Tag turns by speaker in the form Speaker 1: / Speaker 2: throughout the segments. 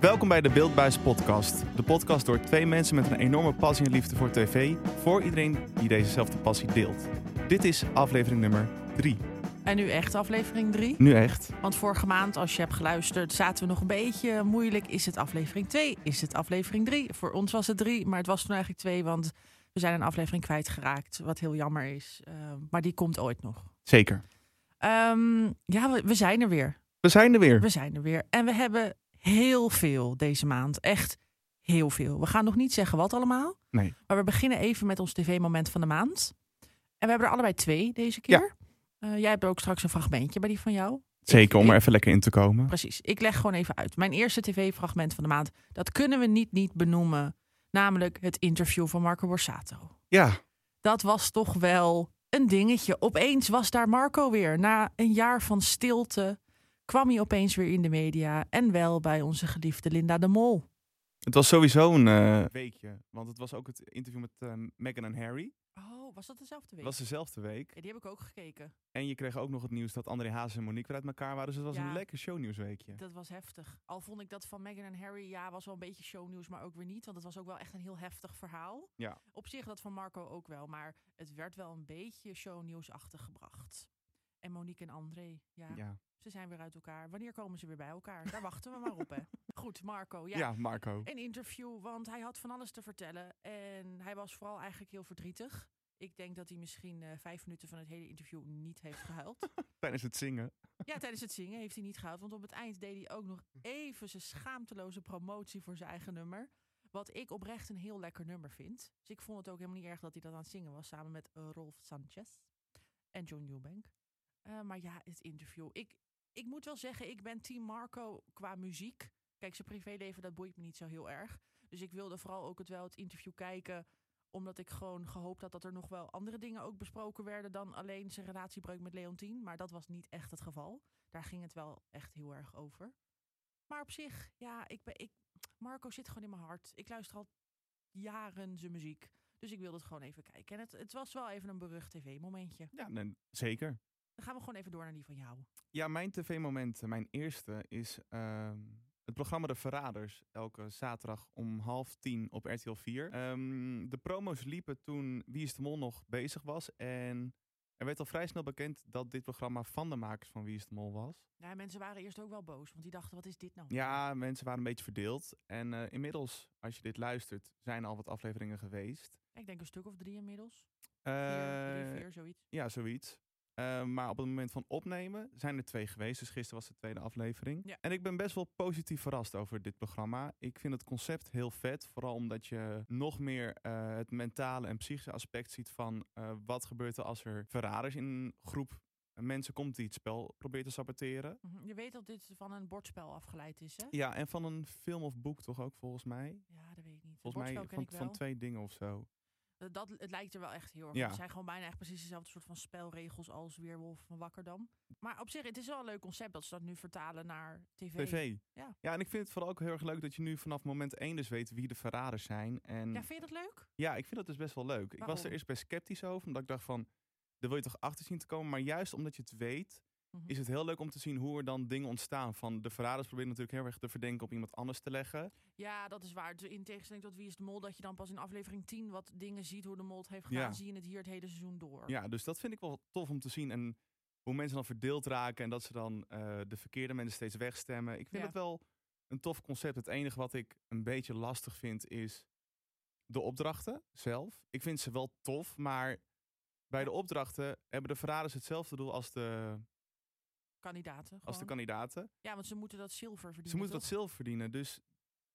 Speaker 1: Welkom bij de Beeldbuis Podcast. De podcast door twee mensen met een enorme passie en liefde voor tv. Voor iedereen die dezezelfde passie deelt. Dit is aflevering nummer 3.
Speaker 2: En nu echt aflevering 3.
Speaker 1: Nu echt.
Speaker 2: Want vorige maand, als je hebt geluisterd, zaten we nog een beetje moeilijk. Is het aflevering 2? Is het aflevering 3? Voor ons was het 3, maar het was toen eigenlijk 2, want we zijn een aflevering kwijtgeraakt. Wat heel jammer is. Eh, maar die komt ooit nog.
Speaker 1: Zeker.
Speaker 2: Ehm, ja, we, we zijn er weer.
Speaker 1: We zijn er weer.
Speaker 2: We zijn er weer. En we hebben heel veel deze maand. Echt heel veel. We gaan nog niet zeggen wat allemaal.
Speaker 1: Nee.
Speaker 2: Maar we beginnen even met ons tv-moment van de maand. En we hebben er allebei twee deze keer. Eh, jij hebt ook straks een fragmentje bij die van jou.
Speaker 1: Zeker, om
Speaker 2: ik-
Speaker 1: er even lekker in te komen.
Speaker 2: Precies. Ik leg gewoon even uit. Mijn eerste tv-fragment van de maand, dat kunnen we niet niet benoemen. Namelijk het interview van Marco Borsato.
Speaker 1: Ja,
Speaker 2: Dat was toch wel een dingetje. Opeens was daar Marco weer. Na een jaar van stilte kwam hij opeens weer in de media. En wel bij onze geliefde Linda de Mol.
Speaker 1: het was sowieso een eh, weekje. Want het was ook het interview met Megan en Harry.
Speaker 2: Oh, was dat dezelfde
Speaker 1: Het
Speaker 2: week?
Speaker 1: was dezelfde week.
Speaker 2: Die heb ik ook gekeken.
Speaker 1: En je kreeg ook nog het nieuws dat André Hazes en Monique weer uit elkaar waren. Dus het was
Speaker 2: Ja.
Speaker 1: een lekker shownieuwsweekje.
Speaker 2: Dat was heftig. Al vond ik dat van Meghan en Harry, ja, was wel een beetje shownieuws, maar ook weer niet. Want het was ook wel echt een heel heftig verhaal.
Speaker 1: Ja.
Speaker 2: Op zich dat van Marco ook wel, maar het werd wel een beetje shownieuwsachtig gebracht. En Monique en André, ja,
Speaker 1: Ja,
Speaker 2: ze zijn weer uit elkaar. Wanneer komen ze weer bij elkaar? Daar wachten we maar op, hè. Goed, Marco, ja.
Speaker 1: ja. Marco.
Speaker 2: Een interview, want hij had van alles te vertellen. En hij was vooral eigenlijk heel verdrietig. Ik denk dat hij misschien eh, vijf minuten van het hele interview niet heeft gehuild.
Speaker 1: Tijdens het zingen.
Speaker 2: Ja, tijdens het zingen heeft hij niet gehaald. Want op het eind deed hij ook nog even zijn schaamteloze promotie voor zijn eigen nummer. Wat ik oprecht een heel lekker nummer vind. Dus ik vond het ook helemaal niet erg dat hij dat aan het zingen was. Samen met eh, Rolf Sanchez en John Newbank. Eh, maar ja, het interview. Ik, ik moet wel zeggen, ik ben team Marco qua muziek. Kijk, zijn privéleven, dat boeit me niet zo heel erg. Dus ik wilde vooral ook het wel het interview kijken. Omdat ik gewoon gehoopt had dat er nog wel andere dingen ook besproken werden. Dan alleen zijn relatiebreuk met Leontien. Maar dat was niet echt het geval daar ging het wel echt heel erg over. Maar op zich, ja, ik ben, ik, Marco zit gewoon in mijn hart. Ik luister al jaren zijn muziek. Dus ik wilde het gewoon even kijken. En het, het was wel even een berucht tv-momentje.
Speaker 1: Ja, nee, zeker.
Speaker 2: Dan gaan we gewoon even door naar die van jou.
Speaker 1: Ja, mijn tv-moment, eh, mijn eerste, is ehm, het programma De Verraders. Elke zaterdag om half tien op RTL 4. Ehm, de promos liepen toen Wie is de Mol nog bezig was. En er werd al vrij snel bekend dat dit programma van de makers van Wie is de Mol was.
Speaker 2: Nou, mensen waren eerst ook wel boos, want die dachten, wat is dit nou?
Speaker 1: Ja, mensen waren een beetje verdeeld. En eh, inmiddels, als je dit luistert, zijn al wat afleveringen geweest.
Speaker 2: Ik denk een stuk of drie inmiddels.
Speaker 1: Eh,
Speaker 2: Vier, drie, vier, zoiets.
Speaker 1: Ja, zoiets. Eh, maar op het moment van opnemen zijn er twee geweest. Dus gisteren was de tweede aflevering.
Speaker 2: Ja.
Speaker 1: En ik ben best wel positief verrast over dit programma. Ik vind het concept heel vet. Vooral omdat je nog meer eh, het mentale en psychische aspect ziet van eh, wat gebeurt er als er verraders in een groep mensen komt die het spel probeert te saboteren.
Speaker 2: Mhm. Je weet dat dit van een bordspel afgeleid is, hè?
Speaker 1: Ja, en van een film of boek toch ook volgens mij?
Speaker 2: Ja, dat weet ik niet. Het
Speaker 1: Volgens mij
Speaker 2: bordspel ken
Speaker 1: van,
Speaker 2: ik wel.
Speaker 1: van twee dingen of zo.
Speaker 2: Eh, Dat, het lijkt er wel echt heel erg
Speaker 1: Ja.
Speaker 2: op. Het zijn gewoon bijna echt precies dezelfde soort van spelregels als Weerwolf van Wakkerdam. Maar op zich, het is wel een leuk concept dat ze dat nu vertalen naar tv.
Speaker 1: TV.
Speaker 2: Ja.
Speaker 1: ja, en ik vind het vooral ook heel erg leuk dat je nu vanaf moment 1 dus weet wie de verraders zijn. En
Speaker 2: Ja, vind je dat leuk?
Speaker 1: Ja, ik vind dat dus best wel leuk. Ik was
Speaker 2: Waarom?
Speaker 1: er eerst best sceptisch over, omdat ik dacht van, daar wil je toch achter zien te komen. Maar juist omdat je het weet,
Speaker 2: Mhm.
Speaker 1: is het heel leuk om te zien hoe er dan dingen ontstaan. Van de verraders proberen natuurlijk heel erg de verdenken op iemand anders te leggen.
Speaker 2: Ja, dat is waar. Dus In tegenstelling tot Wie is de Mol, dat je dan pas in aflevering 10 wat dingen ziet hoe de Mol het heeft gedaan,
Speaker 1: Ja.
Speaker 2: zie je het hier het hele seizoen door.
Speaker 1: Ja, dus dat vind ik wel tof om te zien. En hoe mensen dan verdeeld raken en dat ze dan eh, de verkeerde mensen steeds wegstemmen. Ik vind
Speaker 2: Ja.
Speaker 1: het wel een tof concept. Het enige wat ik een beetje lastig vind is de opdrachten zelf. Ik vind ze wel tof, maar bij de opdrachten hebben de verraders hetzelfde doel als de
Speaker 2: Kandidaten.
Speaker 1: als de
Speaker 2: gewoon.
Speaker 1: kandidaten.
Speaker 2: ja, want ze moeten dat zilver verdienen.
Speaker 1: Ze moeten dat
Speaker 2: toch?
Speaker 1: zilver verdienen. Dus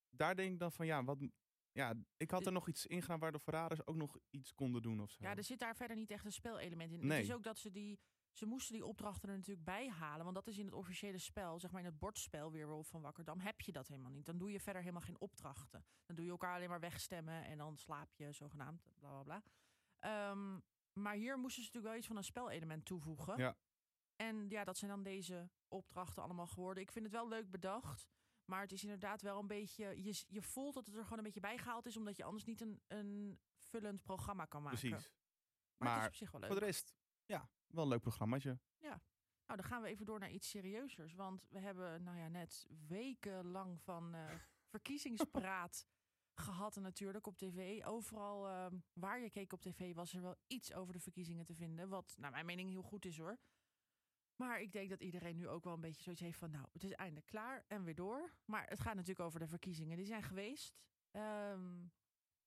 Speaker 1: daar denk ik dan van, ja, wat, m- ja ik had er nog iets in gedaan waar de verraders ook nog iets konden doen of zo.
Speaker 2: Ja, dus er zit daar verder niet echt een spelelement in.
Speaker 1: Nee.
Speaker 2: Het is ook dat ze die. Ze moesten die opdrachten er natuurlijk bij halen. Want dat is in het officiële spel, zeg maar in het bordspel weer Wolf van Wakkerdam, heb je dat helemaal niet. Dan doe je verder helemaal geen opdrachten. Dan doe je elkaar alleen maar wegstemmen en dan slaap je zogenaamd, bla bla bla. Ehm, maar hier moesten ze natuurlijk wel iets van een spelelement toevoegen.
Speaker 1: Ja.
Speaker 2: En ja, dat zijn dan deze opdrachten allemaal geworden. Ik vind het wel leuk bedacht. Maar het is inderdaad wel een beetje. Je, s- je voelt dat het er gewoon een beetje bijgehaald is, omdat je anders niet een, een vullend programma kan maken.
Speaker 1: Precies.
Speaker 2: Maar, het
Speaker 1: Maar
Speaker 2: is op zich wel leuk.
Speaker 1: Voor de rest, ja, wel een leuk programmaatje.
Speaker 2: Nou, dan gaan we even door naar iets serieuzers. Want we hebben, nou ja, net wekenlang van eh verkiezingspraat gehad natuurlijk op tv. Overal ehm, waar je keek op tv was er wel iets over de verkiezingen te vinden. Wat naar mijn mening heel goed is hoor. Maar ik denk dat iedereen nu ook wel een beetje zoiets heeft van... nou, het is eindelijk klaar en weer door. Maar het gaat natuurlijk over de verkiezingen. Die zijn geweest. Ehm,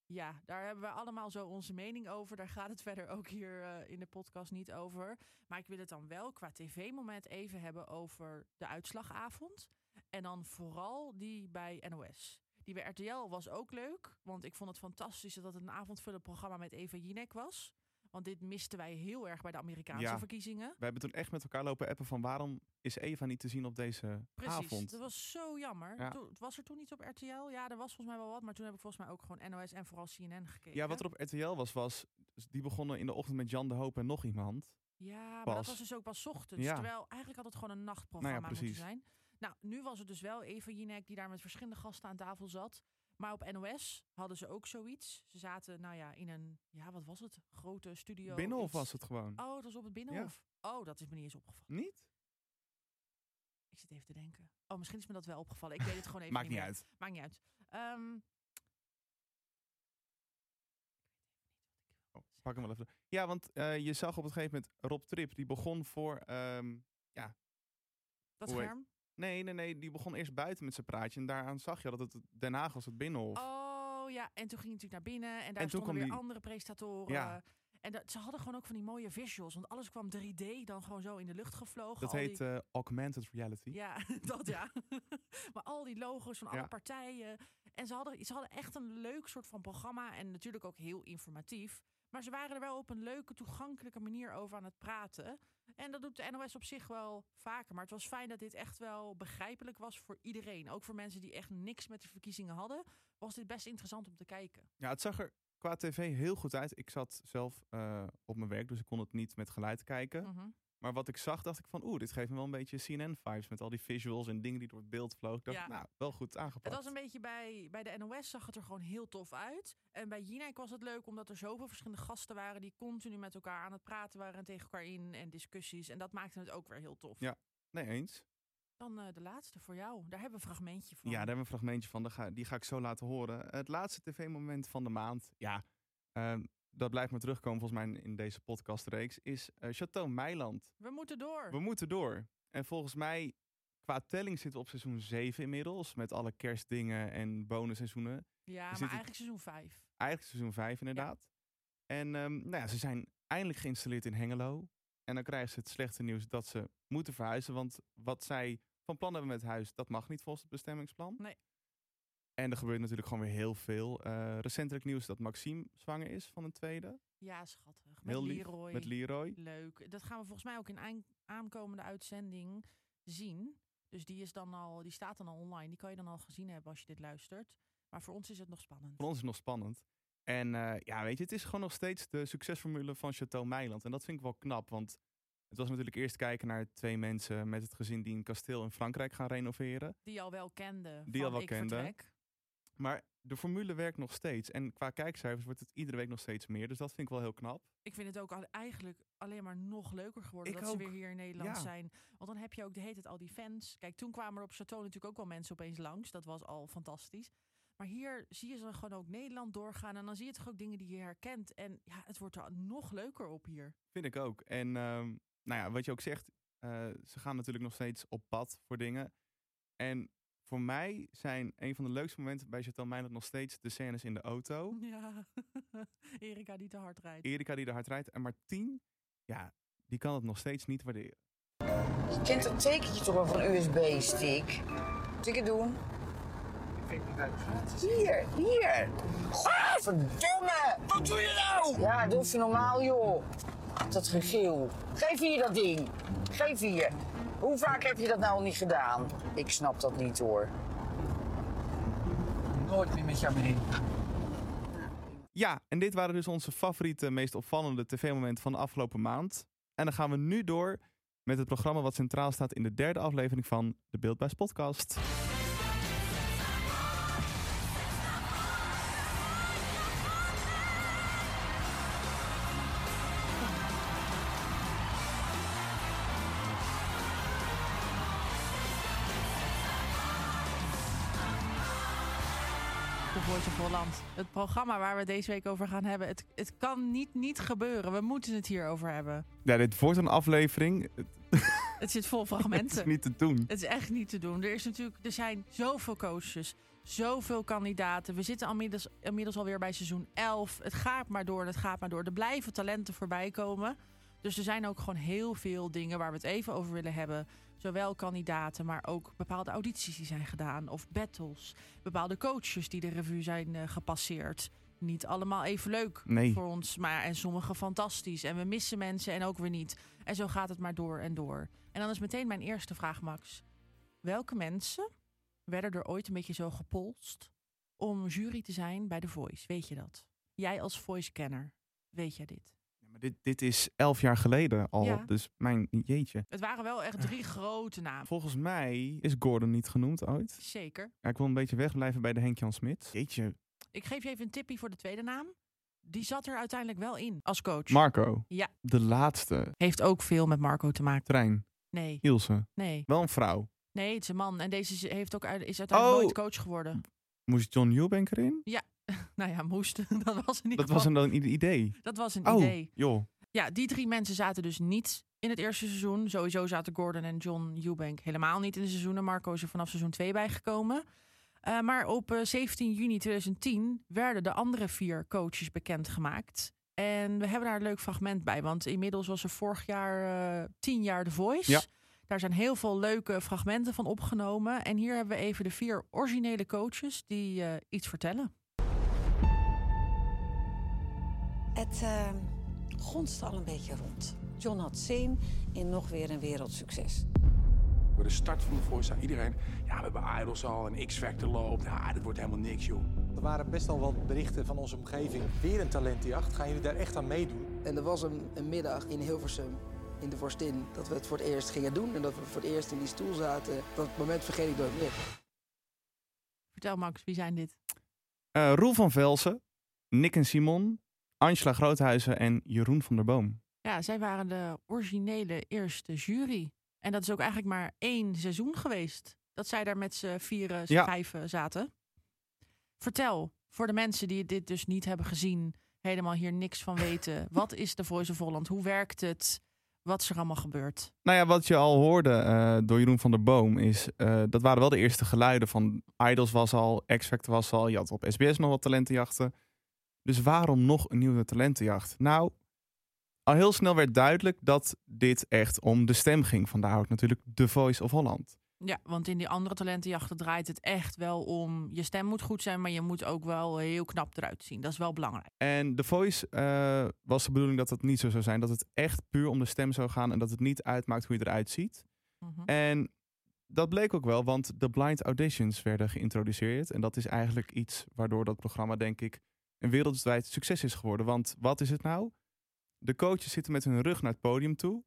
Speaker 2: ja, daar hebben we allemaal zo onze mening over. Daar gaat het verder ook hier eh, in de podcast niet over. Maar ik wil het dan wel qua tv-moment even hebben over de uitslagavond. En dan vooral die bij NOS. Die bij RTL was ook leuk. Want ik vond het fantastisch dat het een avondvullend programma met Eva Jinek was. Want dit misten wij heel erg bij de Amerikaanse
Speaker 1: Ja.
Speaker 2: verkiezingen.
Speaker 1: We hebben toen echt met elkaar lopen appen van waarom is Eva niet te zien op deze
Speaker 2: Precies,
Speaker 1: avond.
Speaker 2: dat was zo jammer.
Speaker 1: Ja.
Speaker 2: Toen- was er toen iets op RTL? Ja, er was volgens mij wel wat. Maar toen heb ik volgens mij ook gewoon NOS en vooral CNN gekeken.
Speaker 1: Ja, wat er op RTL was, was dus die begonnen in de ochtend met Jan de Hoop en nog iemand.
Speaker 2: Ja, maar dat
Speaker 1: Pas.
Speaker 2: was dus ook pas 's ochtends.
Speaker 1: Ja.
Speaker 2: Terwijl eigenlijk had het gewoon een nachtprogramma
Speaker 1: Nou ja,
Speaker 2: moeten
Speaker 1: precies.
Speaker 2: zijn. Nou, nu was het dus wel Eva Jinek die daar met verschillende gasten aan tafel zat. Maar op NOS hadden ze ook zoiets. Ze zaten, nou ja, in een, ja, wat was het? Grote studio.
Speaker 1: Binnenhof
Speaker 2: iets.
Speaker 1: was het gewoon.
Speaker 2: Oh, het was op het Binnenhof. Oh, dat is me niet eens opgevallen.
Speaker 1: Niet?
Speaker 2: Ik zit even te denken. Oh, misschien is me dat wel opgevallen. Ik weet het gewoon even
Speaker 1: Maakt niet
Speaker 2: meer.
Speaker 1: uit.
Speaker 2: Maakt niet uit. Ehm,
Speaker 1: Oh, pak hem wel even. Ja, want eh, je zag op een gegeven moment Rob Trip, die begon voor. ehm,
Speaker 2: dat
Speaker 1: Hoe heet-
Speaker 2: scherm.
Speaker 1: nee, nee, nee, die begon eerst buiten met zijn praatje. En daaraan zag je dat het Den Haag was het binnenhof.
Speaker 2: Oh ja, en toen ging hij natuurlijk naar binnen en daar
Speaker 1: En toen
Speaker 2: stonden
Speaker 1: kwam
Speaker 2: weer
Speaker 1: die-
Speaker 2: andere presentatoren.
Speaker 1: Ja.
Speaker 2: En dat, ze hadden gewoon ook van die mooie visuals, want alles kwam 3D dan gewoon zo in de lucht gevlogen.
Speaker 1: dat
Speaker 2: al
Speaker 1: heet
Speaker 2: die-
Speaker 1: eh, augmented reality.
Speaker 2: Ja, dat ja. maar al die logo's van alle
Speaker 1: Ja.
Speaker 2: partijen. En ze hadden, ze hadden echt een leuk soort van programma en natuurlijk ook heel informatief. Maar ze waren er wel op een leuke, toegankelijke manier over aan het praten. En dat doet de NOS op zich wel vaker. Maar het was fijn dat dit echt wel begrijpelijk was voor iedereen. Ook voor mensen die echt niks met de verkiezingen hadden, was dit best interessant om te kijken.
Speaker 1: Ja, het zag er qua tv heel goed uit. Ik zat zelf eh, op mijn werk, dus ik kon het niet met geluid kijken.
Speaker 2: Mhm.
Speaker 1: Maar wat ik zag, dacht ik van, oeh, dit geeft me wel een beetje CNN-vibes. Met al die visuals en dingen die door het beeld vlogen. Ik dacht,
Speaker 2: Ja.
Speaker 1: nou, wel goed
Speaker 2: Het
Speaker 1: aangepakt.
Speaker 2: was een beetje bij, bij de NOS zag het er gewoon heel tof uit. En bij Jinek was het leuk omdat er zoveel verschillende gasten waren die continu met elkaar aan het praten waren en tegen elkaar in en discussies. En dat maakte het ook weer heel tof.
Speaker 1: Ja. Nee, eens.
Speaker 2: Dan eh, de laatste voor jou. Daar hebben we een fragmentje van.
Speaker 1: Ja, daar hebben we een fragmentje van. daar ga- Die ga ik zo laten horen. Het laatste tv-moment van de maand. Ja, ehm, dat blijft maar terugkomen volgens mij in- in deze podcastreeks. Is eh, Chateau Meiland.
Speaker 2: We moeten door.
Speaker 1: We moeten door. En volgens mij, qua telling zitten we op seizoen 7 inmiddels. Met alle kerstdingen en bonusseizoenen.
Speaker 2: ja, maar
Speaker 1: zitten-
Speaker 2: eigenlijk seizoen 5.
Speaker 1: Eigenlijk seizoen 5 inderdaad. En ehm, nou ja, ze zijn eindelijk geïnstalleerd in Hengelo. En dan krijgen ze het slechte nieuws dat ze moeten verhuizen. Want wat zij van plan hebben met het huis, dat mag niet volgens het bestemmingsplan.
Speaker 2: Nee.
Speaker 1: En er gebeurt natuurlijk gewoon weer heel veel. Eh, recentelijk nieuws dat Maxime zwanger is van een tweede.
Speaker 2: Ja, schattig. Met
Speaker 1: Heel lief,
Speaker 2: Leroy.
Speaker 1: Met Leroy.
Speaker 2: leuk. Dat gaan we volgens mij ook in eind- aankomende uitzending zien. Dus die, is dan al, die staat dan al online. Die kan je dan al gezien hebben als je dit luistert. Maar voor ons is het nog spannend.
Speaker 1: Voor ons is het nog spannend. En eh, ja, weet je, het is gewoon nog steeds de succesformule van Chateau Meiland. En dat vind ik wel knap, want het was natuurlijk eerst kijken naar twee mensen met het gezin die een kasteel in Frankrijk gaan renoveren.
Speaker 2: Die je al wel kende.
Speaker 1: Die je
Speaker 2: van
Speaker 1: al wel
Speaker 2: ik
Speaker 1: kende.
Speaker 2: Vertrek.
Speaker 1: Maar de formule werkt nog steeds. En qua kijkcijfers wordt het iedere week nog steeds meer. Dus dat vind ik wel heel knap.
Speaker 2: Ik vind het ook al- eigenlijk alleen maar nog leuker geworden
Speaker 1: Ik
Speaker 2: dat ze
Speaker 1: ook.
Speaker 2: weer hier in Nederland
Speaker 1: Ja.
Speaker 2: zijn. Want dan heb je ook de hele tijd al die fans. Kijk, toen kwamen er op Chateau natuurlijk ook wel mensen opeens langs. Dat was al fantastisch. Maar hier zie je ze gewoon ook Nederland doorgaan. En dan zie je toch ook dingen die je herkent. En ja, het wordt er nog leuker op hier.
Speaker 1: Vind ik ook. En ehm, nou ja, wat je ook zegt, eh, ze gaan natuurlijk nog steeds op pad voor dingen. En voor mij zijn een van de leukste momenten bij Chateau Meiland nog steeds de scènes in de auto.
Speaker 2: Ja, Erika die te hard rijdt.
Speaker 1: Erika die er hard rijdt. En maar tien, ja, die kan het nog steeds niet waarderen.
Speaker 3: Je kent dat tekentje toch wel van USB-stick? Moet ik het doen? Hier, hier. Godverdomme! Wat doe je nou? Ja, doe even normaal, joh. Dat gegeel. Geef hier dat ding. Geef hier. Hoe vaak heb je dat nou al niet gedaan? Ik snap dat niet, hoor. Nooit meer met jou mee.
Speaker 1: Ja, en dit waren dus onze favoriete, meest opvallende tv-momenten van de afgelopen maand. En dan gaan we nu door met het programma wat centraal staat in de derde aflevering van de Beeldbuis podcast.
Speaker 2: The Voice of Holland. Het programma waar we het deze week over gaan hebben. Het, het kan niet niet gebeuren. We moeten het hierover hebben.
Speaker 1: Ja, dit wordt een aflevering.
Speaker 2: Het zit vol
Speaker 1: Het is
Speaker 2: fragmenten.
Speaker 1: niet te doen.
Speaker 2: Het is echt niet te doen. Er, is natuurlijk, er zijn zoveel coaches, zoveel kandidaten. We zitten inmiddels, inmiddels alweer bij seizoen 11. Het gaat maar door en het gaat maar door. Er blijven talenten voorbij komen. Dus er zijn ook gewoon heel veel dingen waar we het even over willen hebben. Zowel kandidaten, maar ook bepaalde audities die zijn gedaan. Of battles. Bepaalde coaches die de revue zijn eh, gepasseerd. Niet allemaal even leuk
Speaker 1: Nee.
Speaker 2: voor ons, maar en sommige fantastisch. En we missen mensen en ook weer niet. En zo gaat het maar door en door. En dan is meteen mijn eerste vraag, Max. Welke mensen werden er ooit een beetje zo gepolst om jury te zijn bij The Voice? Weet je dat? Jij als Voice-kenner, weet jij dit?
Speaker 1: Ja, maar dit, dit is elf jaar geleden al.
Speaker 2: Ja.
Speaker 1: Dus mijn jeetje.
Speaker 2: Het waren wel echt drie grote namen.
Speaker 1: Volgens mij is Gordon niet genoemd ooit.
Speaker 2: Zeker.
Speaker 1: Ja, ik wil een beetje wegblijven bij de Henk-Jan Smit. Jeetje.
Speaker 2: Ik geef je even een tipje voor de tweede naam. Die zat er uiteindelijk wel in als coach.
Speaker 1: Marco.
Speaker 2: Ja.
Speaker 1: De laatste.
Speaker 2: Heeft ook veel met Marco te maken.
Speaker 1: Trein.
Speaker 2: Nee,
Speaker 1: Ilse.
Speaker 2: nee.
Speaker 1: Wel een vrouw.
Speaker 2: Nee, het is een man. En deze is- heeft ook, uit- is uiteindelijk
Speaker 1: Oh.
Speaker 2: nooit coach geworden.
Speaker 1: Moest John Newbank erin?
Speaker 2: Nou ja, moest. Dat was in ieder
Speaker 1: Dat was
Speaker 2: geval-
Speaker 1: een dan i- idee.
Speaker 2: dat was een idee.
Speaker 1: Oh, joh.
Speaker 2: Ja, die drie mensen zaten dus niet in het eerste seizoen. Sowieso zaten Gordon en John Eubank helemaal niet in de seizoenen. Marco is er vanaf seizoen 2 bijgekomen. Eh, maar op eh, 17 juni 2010 werden de andere vier coaches bekendgemaakt. En we hebben daar een leuk fragment bij. Want inmiddels was er vorig jaar eh tien jaar The Voice.
Speaker 1: Ja.
Speaker 2: Daar zijn heel veel leuke fragmenten van opgenomen. En hier hebben we even de vier originele coaches die eh, iets vertellen.
Speaker 4: Het eh, gonste al een beetje rond. John had zin in nog weer een wereldsucces.
Speaker 5: Bij de start van de Voice zei iedereen... ja, we hebben Idols al en X-Factor loopt. Ja, dat wordt helemaal niks, joh.
Speaker 6: Er waren best al wat berichten van onze omgeving. Weer een talentjacht. Gaan jullie daar echt aan meedoen?
Speaker 7: En er was een, een middag in Hilversum, in de Vorstin, dat we het voor het eerst gingen doen. En dat we voor het eerst in die stoel zaten. Dat moment vergeet ik nooit meer.
Speaker 2: Vertel Max, wie zijn dit?
Speaker 1: Eh, Roel van Velsen. Nick en Simon. Angela Groothuizen en Jeroen van der Boom.
Speaker 2: Ja, zij waren de originele eerste jury. En dat is ook eigenlijk maar één seizoen geweest. Dat zij daar met z'n vieren, z'n
Speaker 1: Ja.
Speaker 2: vijven zaten. Vertel, voor de mensen die dit dus niet hebben gezien, helemaal hier niks van weten. wat is de Voice of Holland? Hoe werkt het? Wat is er allemaal gebeurd?
Speaker 1: Nou ja, wat je al hoorde eh, door Jeroen van der Boom is... eh, dat waren wel de eerste geluiden van Idols was al, X-Factor was al. Je had op SBS nog wat talentenjachten. Dus waarom nog een nieuwe talentenjacht? Nou, al heel snel werd duidelijk dat dit echt om de stem ging. Vandaar ook natuurlijk The Voice of Holland.
Speaker 2: Ja, want in die andere talentenjachten draait het echt wel om... je stem moet goed zijn, maar je moet ook wel heel knap eruit zien. Dat is wel belangrijk.
Speaker 1: En The Voice eh, was de bedoeling dat dat niet zo zou zijn. Dat het echt puur om de stem zou gaan en dat het niet uitmaakt hoe je eruit ziet.
Speaker 2: Mhm.
Speaker 1: En dat bleek ook wel, want de blind auditions werden geïntroduceerd. En dat is eigenlijk iets waardoor dat programma, denk ik, een wereldwijd succes is geworden. Want wat is het nou? De coaches zitten met hun rug naar het podium toe.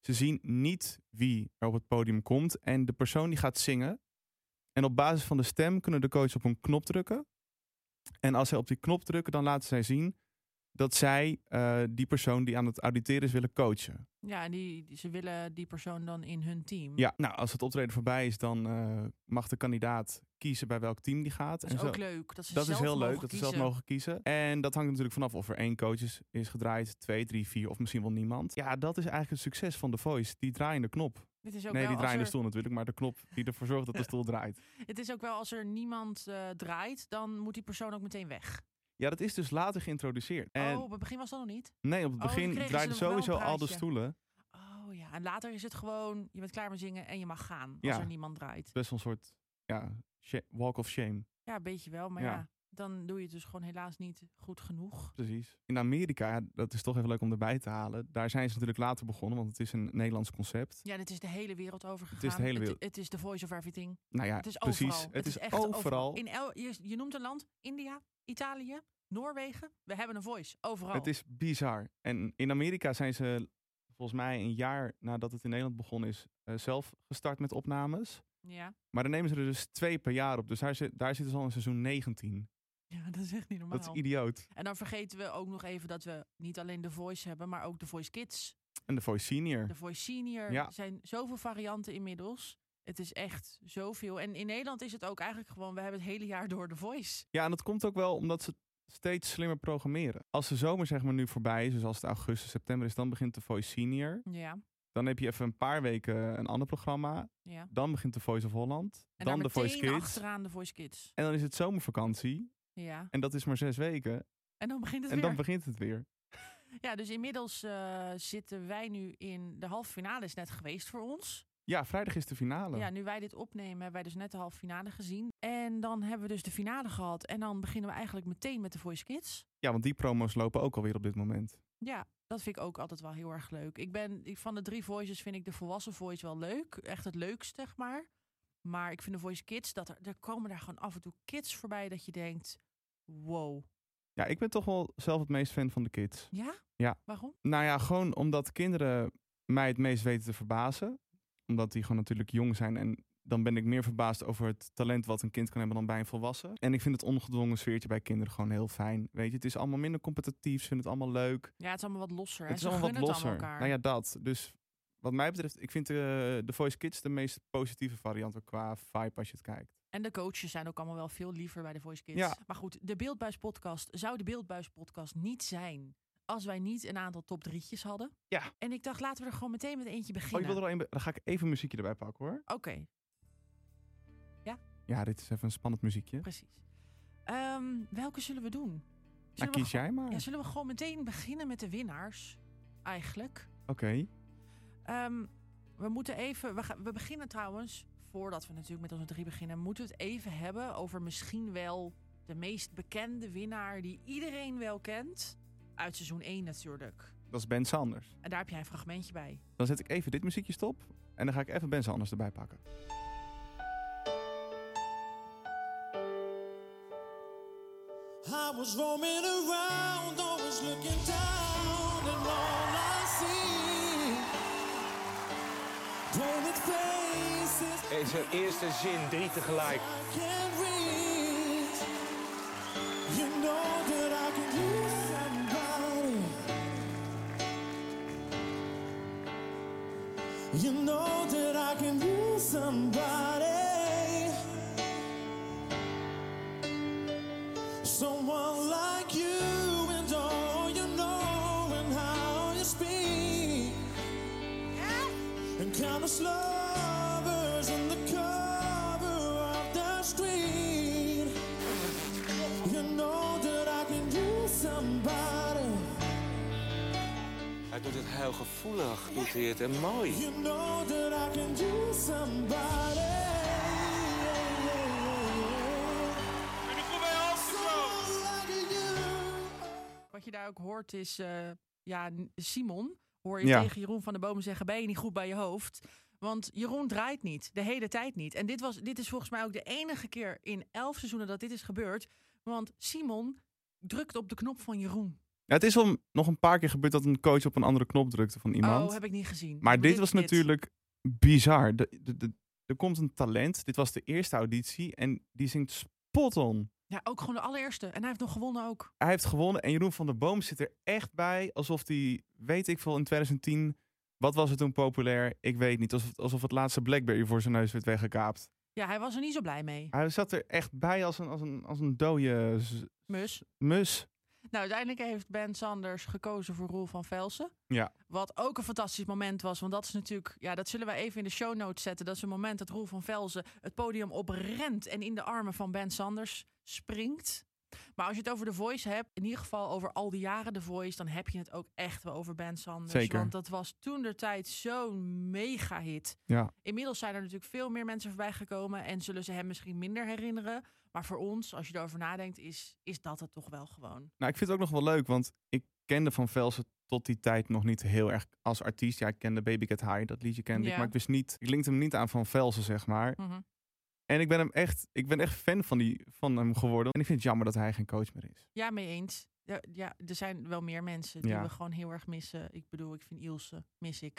Speaker 1: Ze zien niet wie er op het podium komt en de persoon die gaat zingen. En op basis van de stem kunnen de coaches op een knop drukken. En als zij op die knop drukken, dan laten zij zien dat zij eh, die persoon die aan het auditeren is willen coachen.
Speaker 2: Ja, en die, die- ze willen die persoon dan in hun team.
Speaker 1: Ja, nou, als het optreden voorbij is, dan eh, mag de kandidaat kiezen bij welk team die gaat.
Speaker 2: Dat is
Speaker 1: zo.
Speaker 2: ook leuk. Dat, ze
Speaker 1: Dat
Speaker 2: zelf
Speaker 1: is heel leuk,
Speaker 2: mogen
Speaker 1: dat ze
Speaker 2: kiezen.
Speaker 1: zelf mogen kiezen. En dat hangt natuurlijk vanaf of er één coach is, is gedraaid, twee, drie, vier of misschien wel niemand. Ja, dat is eigenlijk het succes van The Voice, die draaiende knop.
Speaker 2: Dit is
Speaker 1: nee,
Speaker 2: ook wel
Speaker 1: die
Speaker 2: als
Speaker 1: draaiende
Speaker 2: er-
Speaker 1: stoel natuurlijk, maar de knop die ervoor zorgt dat de stoel draait.
Speaker 2: Het is ook wel als er niemand eh, draait, dan moet die persoon ook meteen weg.
Speaker 1: Ja, dat is dus later geïntroduceerd. En
Speaker 2: Oh, op het begin was dat nog niet.
Speaker 1: nee, op het
Speaker 2: dan
Speaker 1: begin
Speaker 2: kregen ze
Speaker 1: draaiden
Speaker 2: dus nog wel een
Speaker 1: sowieso al de
Speaker 2: praatje.
Speaker 1: stoelen.
Speaker 2: Oh ja, en later is het gewoon, je bent klaar met zingen en je mag gaan als
Speaker 1: Ja.
Speaker 2: er niemand draait.
Speaker 1: Best wel een soort ja, sha- walk of shame.
Speaker 2: Ja, een beetje wel, maar ja.
Speaker 1: Ja.
Speaker 2: dan doe je het dus gewoon helaas niet goed genoeg.
Speaker 1: Precies. In Amerika, dat is toch even leuk om erbij te halen. Daar zijn ze natuurlijk later begonnen, want het is een Nederlands concept.
Speaker 2: Ja, dit is de hele wereld overgegaan.
Speaker 1: de hele wereld.
Speaker 2: Het, is de voice of everything.
Speaker 1: Nou ja,
Speaker 2: het is
Speaker 1: precies.
Speaker 2: overal.
Speaker 1: Het, is,
Speaker 2: echt
Speaker 1: overal.
Speaker 2: In el, je, je noemt een land, India, Italië, Noorwegen. We hebben een voice, overal.
Speaker 1: Het is bizar. En in Amerika zijn ze volgens mij een jaar nadat het in Nederland begonnen is, eh, zelf gestart met opnames.
Speaker 2: ja.
Speaker 1: Maar dan nemen ze er dus twee per jaar op. Dus daar, zit- daar zitten ze al in seizoen 19.
Speaker 2: ja, dat is echt niet normaal.
Speaker 1: Dat is idioot.
Speaker 2: en dan vergeten we ook nog even dat we niet alleen de voice hebben, maar ook de voice kids.
Speaker 1: En de Voice Senior.
Speaker 2: De Voice Senior.
Speaker 1: Ja.
Speaker 2: Er zijn zoveel varianten inmiddels. Het is echt zoveel. En in Nederland is het ook eigenlijk gewoon, we hebben het hele jaar door The Voice.
Speaker 1: Ja, en dat komt ook wel omdat ze steeds slimmer programmeren. Als de zomer zeg maar nu voorbij is, dus als het augustus, september is, dan begint de Voice Senior.
Speaker 2: Ja,
Speaker 1: Dan heb je even een paar weken een ander programma.
Speaker 2: ja. En
Speaker 1: Dan begint de Voice of Holland.
Speaker 2: daar
Speaker 1: dan de Voice
Speaker 2: meteen
Speaker 1: Kids.
Speaker 2: achteraan The Voice Kids.
Speaker 1: En dan is het zomervakantie.
Speaker 2: Ja.
Speaker 1: En dat is maar zes weken.
Speaker 2: En dan begint het
Speaker 1: En
Speaker 2: weer.
Speaker 1: dan begint het weer.
Speaker 2: Ja, dus inmiddels eh, zitten wij nu in de halve finale is net geweest voor ons.
Speaker 1: Ja, vrijdag is de finale.
Speaker 2: Ja, nu wij dit opnemen hebben wij dus net de halve finale gezien. En dan hebben we dus de finale gehad. En dan beginnen we eigenlijk meteen met de Voice Kids.
Speaker 1: Ja, want die promo's lopen ook alweer op dit moment.
Speaker 2: Ja, dat vind ik ook altijd wel heel erg leuk. Ik ben ik- van de drie voices vind ik de volwassen voice wel leuk. Echt het leukst, zeg maar. Maar ik vind de voice kids, dat er, er komen daar gewoon af en toe kids voorbij dat je denkt, wow.
Speaker 1: Ja, ik ben toch wel zelf het meest fan van de kids.
Speaker 2: Ja?
Speaker 1: Ja.
Speaker 2: Waarom?
Speaker 1: Nou ja, gewoon omdat kinderen mij het meest weten te verbazen. Omdat die gewoon natuurlijk jong zijn. En dan ben ik meer verbaasd over het talent wat een kind kan hebben dan bij een volwassen. En ik vind het ongedwongen sfeertje bij kinderen gewoon heel fijn. Weet je, het is allemaal minder competitief. Ze vinden het allemaal leuk.
Speaker 2: Ja, het is allemaal wat losser.
Speaker 1: het
Speaker 2: en
Speaker 1: is
Speaker 2: ze
Speaker 1: allemaal wat
Speaker 2: gunnen het
Speaker 1: losser.
Speaker 2: elkaar.
Speaker 1: nou ja, dat. Dus wat mij betreft, ik vind eh, de, de Voice Kids de meest positieve variant ook qua vibe als je het kijkt.
Speaker 2: En de coaches zijn ook allemaal wel veel liever bij de Voice Kids.
Speaker 1: Ja.
Speaker 2: Maar goed, de Beeldbuis podcast zou de Beeldbuis podcast niet zijn als wij niet een aantal top drietjes hadden.
Speaker 1: Ja.
Speaker 2: En ik dacht, laten we er gewoon meteen met eentje
Speaker 1: Oh, je
Speaker 2: beginnen.
Speaker 1: wil er al een, be- dan ga ik even een muziekje erbij pakken hoor.
Speaker 2: Oké,
Speaker 1: Ja, dit is even een spannend muziekje.
Speaker 2: precies. Ehm, welke zullen we doen?
Speaker 1: Nou,
Speaker 2: Zullen we
Speaker 1: kies jij maar.
Speaker 2: Ja, zullen we gewoon meteen beginnen met de winnaars? Eigenlijk.
Speaker 1: Oké.
Speaker 2: Ehm, we moeten even. We, gaan- we beginnen trouwens. Voordat we natuurlijk met onze drie beginnen, moeten we het even hebben over misschien wel de meest bekende winnaar die iedereen wel kent. Uit seizoen 1 natuurlijk.
Speaker 1: Dat is Ben Sanders.
Speaker 2: En daar heb jij een fragmentje bij.
Speaker 1: Dan zet ik even dit muziekje stop. En dan ga ik even Ben Anders erbij pakken.
Speaker 8: I was roaming around, always looking down, and all I see painted faces
Speaker 9: In zijn eerste zin drie tegelijk.
Speaker 8: I can't reach. You know that I could lose somebody. You know that I can lose somebody. Someone like you and all you know and how you speak. And countless lovers in the cover of the street. You know that I can use somebody.
Speaker 9: Hij doet het heel gevoelig, doet hij het en mooi.
Speaker 8: You know that I can use somebody. Someone like you.
Speaker 2: Wat je daar ook hoort is. eh, ja, n- Simon. Hoor je
Speaker 1: Ja.
Speaker 2: tegen Jeroen van de Bomen zeggen: Ben je niet goed bij je hoofd? Want Jeroen draait niet, de hele tijd niet. En dit, was, dit is volgens mij ook de enige keer in elf seizoenen dat dit is gebeurd. Want Simon drukt op de knop van Jeroen.
Speaker 1: Ja, het is al m- nog een paar keer gebeurd dat een coach op een andere knop drukte van iemand.
Speaker 2: Oh, heb ik niet gezien.
Speaker 1: maar
Speaker 2: Ik
Speaker 1: dit
Speaker 2: bedoel,
Speaker 1: was natuurlijk bizar. De, de, de- er komt een talent. Dit was de eerste auditie. En die zingt spot on.
Speaker 2: Ja, ook gewoon de allereerste. En hij heeft nog gewonnen ook.
Speaker 1: Hij heeft gewonnen. En Jeroen van der Boom zit er echt bij. Alsof hij, weet ik veel, in 2010. Wat was het toen populair? Ik weet niet. Alsof, alsof het laatste Blackberry voor zijn neus werd weggekaapt.
Speaker 2: Ja, hij was er niet zo blij mee.
Speaker 1: Hij zat er echt bij als een, als een, als een dode z-
Speaker 2: Mus.
Speaker 1: mus.
Speaker 2: Nou, uiteindelijk heeft Ben Sanders gekozen voor Roel van Velsen.
Speaker 1: Ja.
Speaker 2: Wat ook een fantastisch moment was. Want dat is natuurlijk, ja, dat zullen wij even in de show notes zetten. Dat is een moment dat Roel van Velzen het podium oprent en in de armen van Ben Sanders springt. Maar als je het over The Voice hebt, in ieder geval over al die jaren The Voice, dan heb je het ook echt wel over Ben Sanders.
Speaker 1: Zeker.
Speaker 2: Want dat was toen de tijd zo'n mega hit.
Speaker 1: Ja.
Speaker 2: Inmiddels zijn er natuurlijk veel meer mensen voorbij gekomen en zullen ze hem misschien minder herinneren. Maar voor ons, als je erover nadenkt, is, is dat het toch wel gewoon.
Speaker 1: Nou, ik vind het ook nog wel leuk, want ik kende Van Velsen tot die tijd nog niet heel erg als artiest. Ja, ik kende Baby Cat High, dat liedje kende ik,
Speaker 2: Ja.
Speaker 1: maar ik wist niet, ik linkte hem niet aan Van Velsen, zeg maar.
Speaker 2: Mhm.
Speaker 1: En ik ben hem echt, ik ben echt fan van, die, van hem geworden. En ik vind het jammer dat hij geen coach meer is.
Speaker 2: Ja, mee eens. Ja, ja, er zijn wel meer mensen die
Speaker 1: Ja.
Speaker 2: we gewoon heel erg missen. Ik bedoel, ik vind Ilse, mis ik.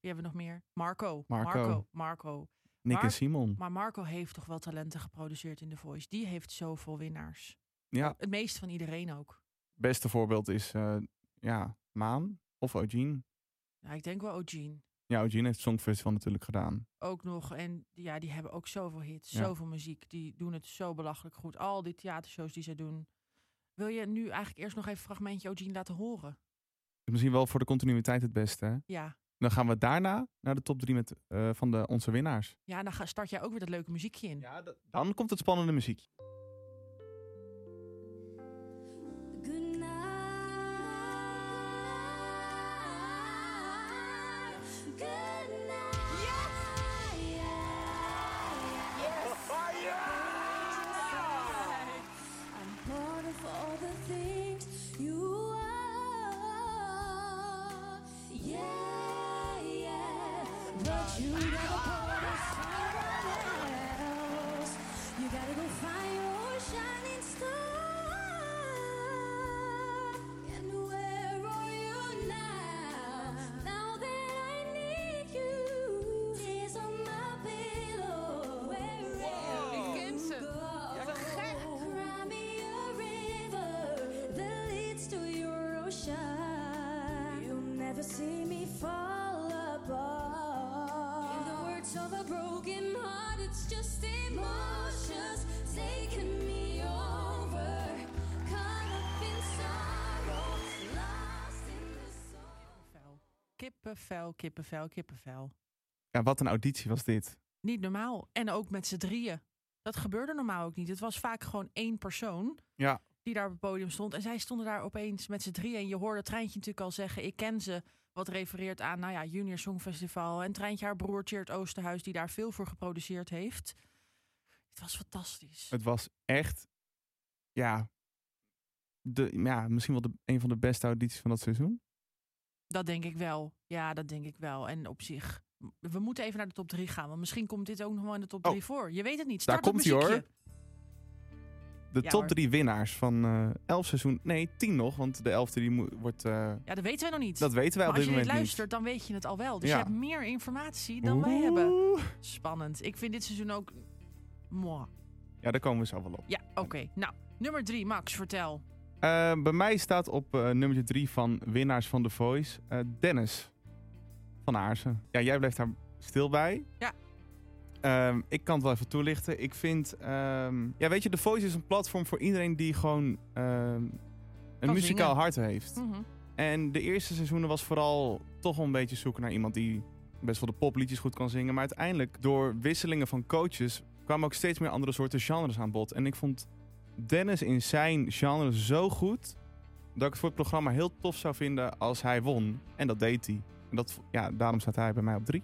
Speaker 2: Wie hebben we nog meer? Marco.
Speaker 1: Marco.
Speaker 2: Marco. Marco.
Speaker 1: Nick
Speaker 2: Maar-
Speaker 1: en Simon.
Speaker 2: Maar Marco heeft toch wel talenten geproduceerd in The Voice. Die heeft zoveel winnaars.
Speaker 1: ja,
Speaker 2: Het meest van iedereen ook.
Speaker 1: het beste voorbeeld is, eh, ja, Maan of Eugene.
Speaker 2: Nou, ik denk wel Eugene.
Speaker 1: Ja, Eugene heeft het Songfestival natuurlijk gedaan.
Speaker 2: ook nog. En die- ja, die hebben ook zoveel hits,
Speaker 1: Ja.
Speaker 2: zoveel muziek. Die doen het zo belachelijk goed. Al die theatershows die ze doen. Wil je nu eigenlijk eerst nog even een fragmentje Eugene laten horen?
Speaker 1: Is misschien wel voor de continuïteit het beste. Hè?
Speaker 2: Ja.
Speaker 1: Dan gaan we daarna naar de top 3 met, eh, van de, onze winnaars.
Speaker 2: Ja, dan ga- start jij ook weer dat leuke muziekje in.
Speaker 1: Ja, dan komt het spannende muziek.
Speaker 2: Kippenvel, kippenvel, kippenvel, kippenvel.
Speaker 1: Ja, wat een auditie was dit.
Speaker 2: Niet normaal. En ook met z'n drieën. Dat gebeurde normaal ook niet. Het was vaak gewoon één persoon
Speaker 1: Ja,
Speaker 2: die daar op het podium stond. En zij stonden daar opeens met z'n drieën. En je hoorde Treintje natuurlijk al zeggen, ik ken ze. Wat refereert aan, nou ja, Junior Songfestival. En Treintje, haar broer Tjeerd Oosterhuis, die daar veel voor geproduceerd heeft. Het was fantastisch.
Speaker 1: het was echt, ja, de, ja misschien wel de, een van de beste audities van dat seizoen.
Speaker 2: Dat denk ik wel. Ja, dat denk ik wel. En op zich, m- we moeten even naar de top 3 gaan. Want misschien komt dit ook nog wel in de top
Speaker 1: Oh.
Speaker 2: 3 voor. Je weet het niet.
Speaker 1: Daar
Speaker 2: Start het
Speaker 1: komt-ie, hoor.
Speaker 2: muziekje.
Speaker 1: De
Speaker 2: Ja,
Speaker 1: top
Speaker 2: hoor.
Speaker 1: drie winnaars van eh elf seizoen, nee, tien nog, want de elfde die mo- wordt, eh,
Speaker 2: Ja, dat weten wij nog niet.
Speaker 1: dat weten wij
Speaker 2: maar
Speaker 1: op
Speaker 2: als
Speaker 1: dit
Speaker 2: je dit
Speaker 1: moment
Speaker 2: luistert, dan weet je het al wel. Dus
Speaker 1: Ja.
Speaker 2: je hebt meer informatie
Speaker 1: niet.
Speaker 2: dan wij hebben.
Speaker 1: Oeh.
Speaker 2: Spannend. Ik vind dit seizoen ook... Mwah.
Speaker 1: Ja, daar komen we zo wel op.
Speaker 2: Ja, oké. Nou, nummer 3, Max, vertel.
Speaker 1: Eh, bij mij staat op eh nummer drie van winnaars van The Voice eh, Dennis van Aarsen. Ja, jij blijft daar stil bij.
Speaker 2: Ja.
Speaker 1: Ehm, ik kan het wel even toelichten. Ik vind, ehm, ja, weet je, The Voice is een platform voor iedereen die gewoon ehm, een
Speaker 2: Kan
Speaker 1: muzikaal
Speaker 2: zingen.
Speaker 1: hart heeft.
Speaker 2: Mhm.
Speaker 1: En de eerste seizoenen was vooral toch wel een beetje zoeken naar iemand die best wel de popliedjes goed kan zingen. Maar uiteindelijk, door wisselingen van coaches, kwamen ook steeds meer andere soorten genres aan bod. En ik vond Dennis in zijn genre zo goed, dat ik het voor het programma heel tof zou vinden als hij won. En dat deed hij. En dat, vo- ja, daarom staat hij bij mij op drie.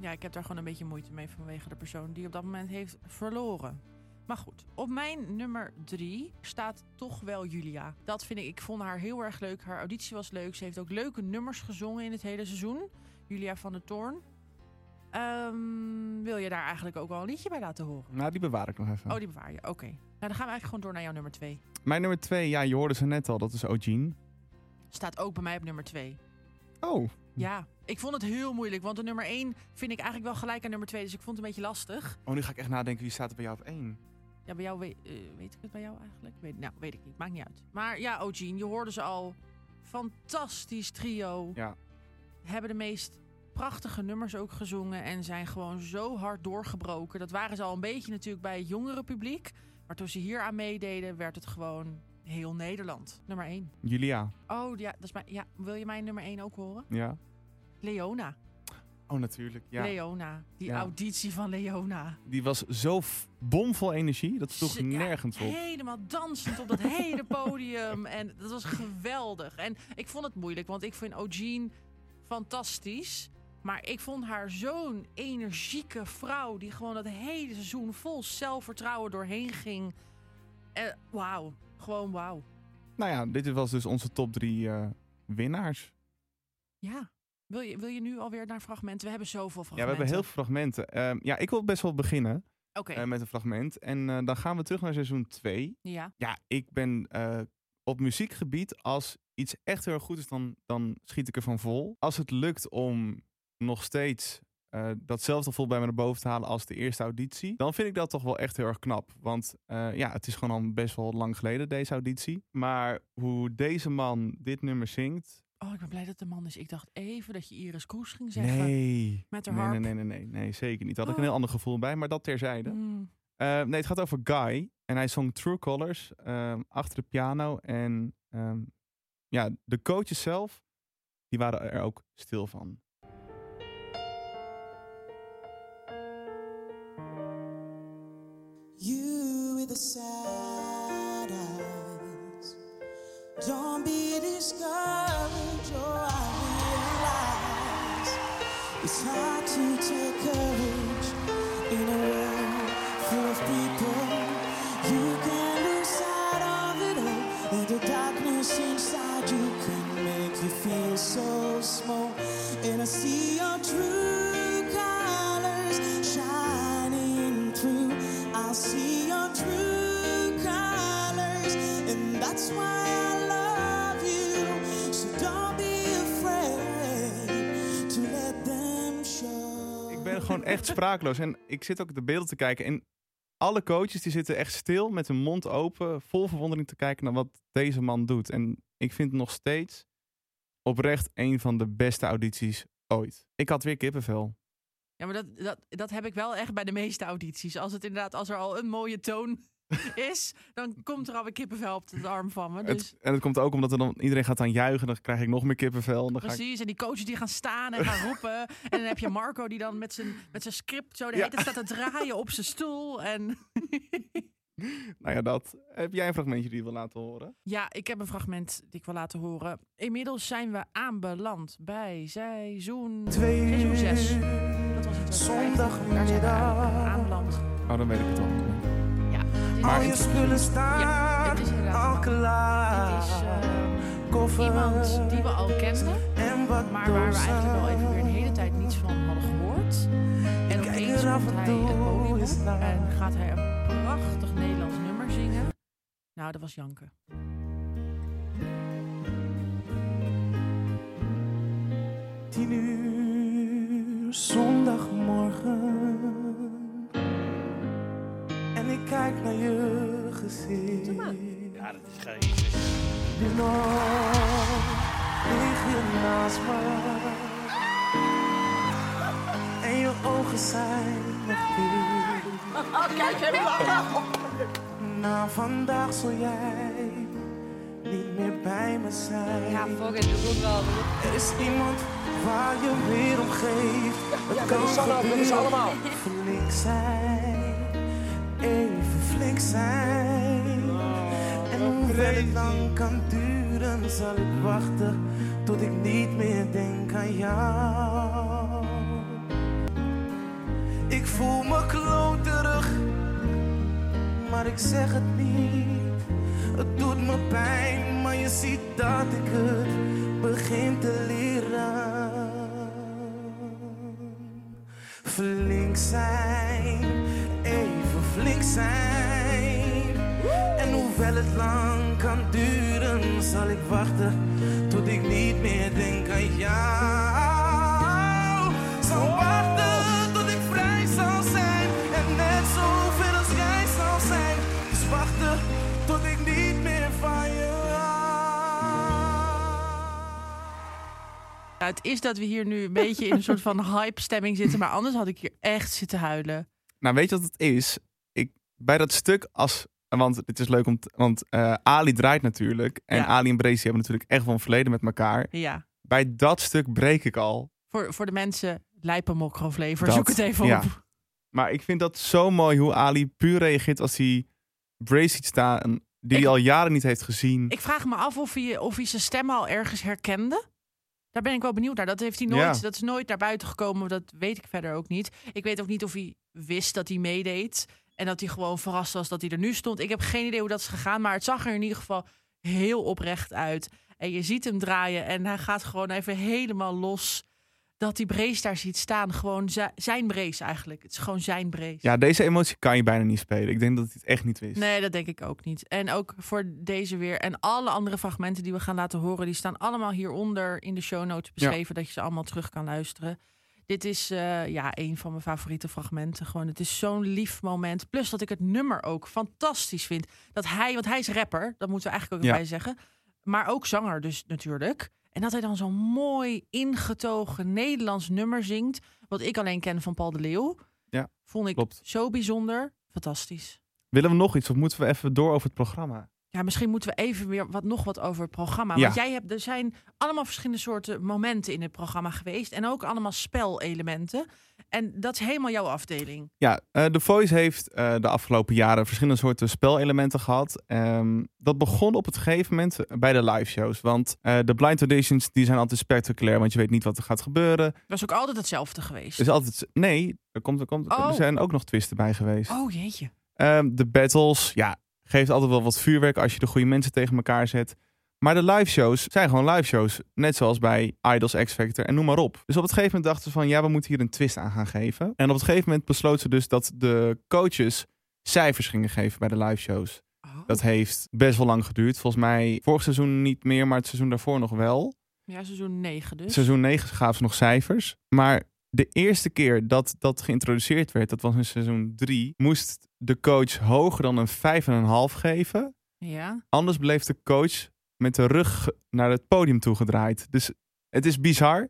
Speaker 2: Ja, ik heb daar gewoon een beetje moeite mee vanwege de persoon die op dat moment heeft verloren. Maar goed, op mijn nummer drie staat toch wel Julia. Dat vind ik, ik vond haar heel erg leuk. Haar auditie was leuk. Ze heeft ook leuke nummers gezongen in het hele seizoen. Julia van der Toorn. Ehm, wil je daar eigenlijk ook wel een liedje bij laten horen?
Speaker 1: Nou, die bewaar ik nog even.
Speaker 2: Oh, die bewaar je. Oké. Nou, dan gaan we eigenlijk gewoon door naar jouw nummer twee.
Speaker 1: Mijn nummer twee, ja, je hoorde ze net al, dat is Eugene.
Speaker 2: Staat ook bij mij op nummer twee.
Speaker 1: Oh,
Speaker 2: Ja, ik vond het heel moeilijk. Want de nummer 1 vind ik eigenlijk wel gelijk aan nummer 2. Dus ik vond het een beetje lastig.
Speaker 1: oh nu ga ik echt nadenken, wie staat er bij jou op één?
Speaker 2: Ja, bij jou weet, eh, weet ik het bij jou eigenlijk? Weet, nou, weet ik niet. Maakt niet uit. Maar ja, Ogene, je hoorde ze al. Fantastisch trio.
Speaker 1: Ja.
Speaker 2: Hebben de meest prachtige nummers ook gezongen. En zijn gewoon zo hard doorgebroken. Dat waren ze al een beetje natuurlijk bij het jongere publiek. Maar toen ze hier aan meededen, werd het gewoon heel Nederland. Nummer 1.
Speaker 1: Julia,
Speaker 2: Oh, ja, dat is mijn, ja, wil je mijn nummer 1 ook horen?
Speaker 1: ja.
Speaker 2: Leona.
Speaker 1: Oh, natuurlijk, ja.
Speaker 2: Leona. Die
Speaker 1: Ja.
Speaker 2: auditie van Leona.
Speaker 1: Die was zo f- bomvol energie. Dat sloeg
Speaker 2: Ze- ja,
Speaker 1: nergens op.
Speaker 2: Helemaal dansend op dat hele podium. En dat was geweldig. En ik vond het moeilijk, want ik vind Eugene fantastisch. Maar ik vond haar zo'n energieke vrouw... die gewoon dat hele seizoen vol zelfvertrouwen doorheen ging. En wauw. Gewoon wauw.
Speaker 1: Nou ja, dit was dus onze top drie eh, winnaars.
Speaker 2: Ja. Wil je, wil je nu alweer naar fragmenten? We hebben zoveel fragmenten.
Speaker 1: Ja, we hebben heel veel fragmenten. Ehm, ja, ik wil best wel beginnen
Speaker 2: Oké,
Speaker 1: eh, met een fragment. En eh, dan gaan we terug naar seizoen 2.
Speaker 2: ja.
Speaker 1: Ja, ik ben eh, op muziekgebied, als iets echt heel erg goed is, dan, dan schiet ik er van vol. Als het lukt om nog steeds eh, datzelfde gevoel bij me naar boven te halen als de eerste auditie, dan vind ik dat toch wel echt heel erg knap. Want eh, ja, het is gewoon al best wel lang geleden, deze auditie. Maar hoe deze man dit nummer zingt,
Speaker 2: Oh, ik ben blij dat de man is. Ik dacht even dat je Iris Kroes ging zeggen.
Speaker 1: Nee.
Speaker 2: Met haar
Speaker 1: nee, nee,
Speaker 2: harp.
Speaker 1: nee, nee, nee, nee, zeker niet. Daar had ik
Speaker 2: Oh.
Speaker 1: een heel ander gevoel bij, maar dat terzijde.
Speaker 2: Mm.
Speaker 1: Eh, nee, het gaat over Guy. En hij zong True Colors ehm, achter de piano. En ehm, ja, de coaches zelf, die waren er ook stil van.
Speaker 8: You with the sad eyes. Don't be discouraged, oh, I realize it's hard to take courage in a world full of people. You can lose sight of it all, and the darkness inside you can make you feel so small. And I see your true colors shining through. I see your true colors, and that's why I love you. So don't be afraid to let them show.
Speaker 1: Ik ben gewoon echt spraakloos. En ik zit ook de beelden te kijken. En alle coaches die zitten echt stil met hun mond open. Vol verwondering te kijken naar wat deze man doet. En ik vind het nog steeds oprecht een van de beste audities ooit. Ik had weer kippenvel.
Speaker 2: Ja, maar dat, dat, dat heb ik wel echt bij de meeste audities. Als het inderdaad, als er al een mooie toon is, dan komt er alweer kippenvel op de arm van me. Dus
Speaker 1: Het, en dat komt ook omdat er dan iedereen gaat aan juichen. Dan krijg ik nog meer kippenvel. En dan ga ik...
Speaker 2: precies. En die coaches die gaan staan en gaan roepen. En dan heb je Marco die dan met zijn, met zijn script zo de hele
Speaker 1: Ja.
Speaker 2: tijd staat te draaien op zijn stoel. En
Speaker 1: Nou ja, dat. Heb jij een fragmentje die je wil laten horen?
Speaker 2: ja, ik heb een fragment die ik wil laten horen. Inmiddels zijn we aanbeland bij seizoen, seizoen 6. Dat was het. Daar zijn we aan- aanbeland.
Speaker 1: Oh, dan weet ik het al.
Speaker 2: Ja,
Speaker 1: Maar
Speaker 8: Je spullen staan
Speaker 2: ja, het is inderdaad.
Speaker 8: al
Speaker 2: een man. Het
Speaker 8: klaar.
Speaker 2: is eh,
Speaker 8: Koffer
Speaker 2: iemand die we al kenden,
Speaker 8: en wat
Speaker 2: maar waar we eigenlijk wel even weer een hele
Speaker 8: dozen.
Speaker 2: tijd niets van hadden gehoord. En
Speaker 8: Kijk
Speaker 2: opeens
Speaker 8: er af
Speaker 2: komt
Speaker 8: en
Speaker 2: hij
Speaker 8: toe
Speaker 2: het podium
Speaker 8: eens
Speaker 2: op
Speaker 8: naar.
Speaker 2: en gaat hij een prachtig Nederlands nummer zingen. Nou, dat was janken.
Speaker 8: Tien uur zondagmorgen. En ik kijk naar je gezicht. Ja, dat is geen. De nacht lig je naast me. En je ogen zijn nog dicht. Na vandaag zul jij niet meer bij me zijn. Ja, fuck it, wel. Er is iemand waar je weer om geeft. Het ja, kan gebeuren. allemaal. Flink zijn, even flink zijn. en hoewel het lang kan duren, zal ik wachten tot ik niet meer denk aan jou. Ik voel me kloterig maar ik zeg het niet. Het doet me pijn, maar je ziet dat ik het begin te leren. Flink zijn, even flink zijn. En hoewel het lang kan duren, zal ik wachten tot ik niet meer denk aan jou. Zal wachten tot ik vrij zal zijn en net zoveel als jij zal zijn. Dus wachten tot ik niet meer van je hou.
Speaker 2: Ja, het is dat we hier nu een beetje in een soort van hype-stemming zitten, maar anders had ik hier echt zitten huilen.
Speaker 1: Nou, weet je wat het is? Ik, bij dat stuk als... Want het is leuk om... te- want eh, Ali draait natuurlijk. En
Speaker 2: Ja.
Speaker 1: Ali en Bracy hebben natuurlijk echt wel een verleden met elkaar.
Speaker 2: Ja,
Speaker 1: Bij dat stuk breek ik al.
Speaker 2: voor, voor de mensen, lijpenmokro-flavor,
Speaker 1: Dat,
Speaker 2: zoek het even
Speaker 1: ja.
Speaker 2: op.
Speaker 1: Maar ik vind dat zo mooi hoe Ali puur reageert als hij Bracy ziet staan. Die hij al jaren niet heeft gezien.
Speaker 2: Ik vraag me af of hij, of hij zijn stem al ergens herkende. Daar ben ik wel benieuwd naar. Dat, heeft hij nooit,
Speaker 1: Ja.
Speaker 2: dat is nooit naar buiten gekomen. Dat weet ik verder ook niet. Ik weet ook niet of hij wist dat hij meedeed. En dat hij gewoon verrast was dat hij er nu stond. Ik heb geen idee hoe dat is gegaan. Maar het zag er in ieder geval heel oprecht uit. En je ziet hem draaien. En hij gaat gewoon even helemaal los. Dat die brace daar ziet staan. Gewoon zi- zijn brace eigenlijk. Het is gewoon zijn brace.
Speaker 1: Ja, deze emotie kan je bijna niet spelen. Ik denk dat hij het echt niet wist.
Speaker 2: Nee, dat denk ik ook niet. En ook voor deze weer en alle andere fragmenten die we gaan laten horen, die staan allemaal hieronder in de show notes beschreven, dat je ze allemaal terug kan luisteren. Dit is eh, ja, een van mijn favoriete fragmenten. Gewoon, het is zo'n lief moment. Plus dat ik het nummer ook fantastisch vind. Dat hij, want hij is rapper, dat moeten we eigenlijk ook
Speaker 1: Ja.
Speaker 2: bij zeggen. Maar ook zanger dus natuurlijk. En dat hij dan zo'n mooi ingetogen Nederlands nummer zingt. Wat ik alleen ken van Paul de Leeuw.
Speaker 1: Ja,
Speaker 2: Vond ik
Speaker 1: klopt.
Speaker 2: zo bijzonder. Fantastisch.
Speaker 1: Willen we nog iets of moeten we even door over het programma?
Speaker 2: Ja, misschien moeten we even weer wat, nog wat over het programma. Want jij hebt, er zijn allemaal verschillende soorten momenten in het programma geweest. En ook allemaal spelelementen. En dat is helemaal jouw afdeling.
Speaker 1: Ja, eh The Voice heeft eh, de afgelopen jaren verschillende soorten spelelementen gehad. Ehm, dat begon op het gegeven moment eh, bij de live shows. Want eh, de blind auditions die zijn altijd spectaculair, want je weet niet wat er gaat gebeuren.
Speaker 2: Dat is ook altijd hetzelfde geweest.
Speaker 1: Er is altijd. Nee, er, komt, er, komt,
Speaker 2: Oh.
Speaker 1: er zijn ook nog twisten bij geweest.
Speaker 2: Oh jeetje.
Speaker 1: Ehm, de battles, ja, geeft altijd wel wat vuurwerk als je de goede mensen tegen elkaar zet. Maar de live shows zijn gewoon live shows. Net zoals bij Idols, X Factor en noem maar op. Dus op het gegeven moment dachten ze van ja, we moeten hier een twist aan gaan geven. En op het gegeven moment besloten ze dus dat de coaches cijfers gingen geven bij de live shows.
Speaker 2: Oh.
Speaker 1: Dat heeft best wel lang geduurd. Volgens mij vorig seizoen niet meer, maar het seizoen daarvoor nog wel.
Speaker 2: Ja, seizoen 9 dus.
Speaker 1: Seizoen 9 gaven ze nog cijfers. Maar de eerste keer dat dat geïntroduceerd werd, dat was in seizoen 3, moest de coach hoger dan een 5,5 geven.
Speaker 2: Ja.
Speaker 1: Anders bleef de coach met de rug naar het podium toegedraaid. Dus het is bizar.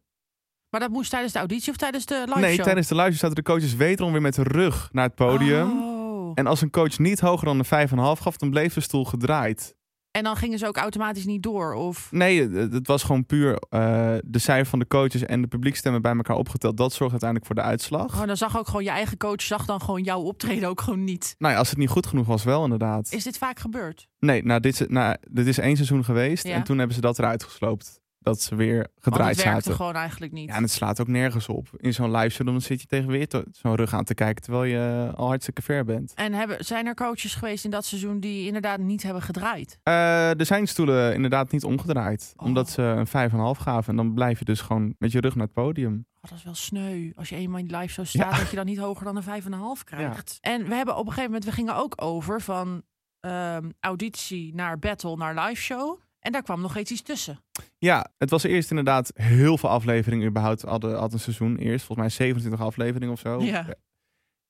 Speaker 2: Maar dat moest tijdens de auditie of tijdens de live
Speaker 1: nee,
Speaker 2: show?
Speaker 1: tijdens de luister zaten de coaches wederom weer met de rug naar het podium.
Speaker 2: Oh.
Speaker 1: En als een coach niet hoger dan een 5,5 gaf, dan bleef de stoel gedraaid.
Speaker 2: En dan gingen ze ook automatisch niet door? Of...
Speaker 1: Nee, het het was gewoon puur eh, de cijfer van de coaches en de publiekstemmen bij elkaar opgeteld. Dat zorgt uiteindelijk voor de uitslag.
Speaker 2: Oh, dan zag ook gewoon je eigen coach, zag dan gewoon jouw optreden ook gewoon niet.
Speaker 1: Nou ja, als het niet goed genoeg was, wel inderdaad.
Speaker 2: Is dit vaak gebeurd?
Speaker 1: Nee, nou dit, is- nou, dit is één seizoen geweest.
Speaker 2: Ja.
Speaker 1: En toen hebben ze dat eruit gesloopt. Dat ze weer
Speaker 2: Want
Speaker 1: gedraaid
Speaker 2: het werkte
Speaker 1: zaten.
Speaker 2: gewoon eigenlijk niet.
Speaker 1: Ja, en het slaat ook nergens op. In zo'n live show dan zit je tegen weer to- zo'n rug aan te kijken. Terwijl je eh, al hartstikke ver bent.
Speaker 2: En hebben, zijn er coaches geweest in dat seizoen die inderdaad niet hebben gedraaid?
Speaker 1: Eh, er zijn stoelen inderdaad niet omgedraaid.
Speaker 2: Oh.
Speaker 1: Omdat ze een 5,5 gaven. En dan blijf je dus gewoon met je rug naar het podium.
Speaker 2: Oh, dat is wel sneu. Als je eenmaal in de live zo staat, dat je dan niet hoger dan een 5,5 krijgt. En we hebben op een gegeven moment, we gingen ook over van ehm, auditie naar battle naar live show. En daar kwam nog eens iets tussen.
Speaker 1: Ja, het was eerst inderdaad heel veel afleveringen überhaupt. Had, had een seizoen eerst. Volgens mij 27 afleveringen of zo.
Speaker 2: Ja.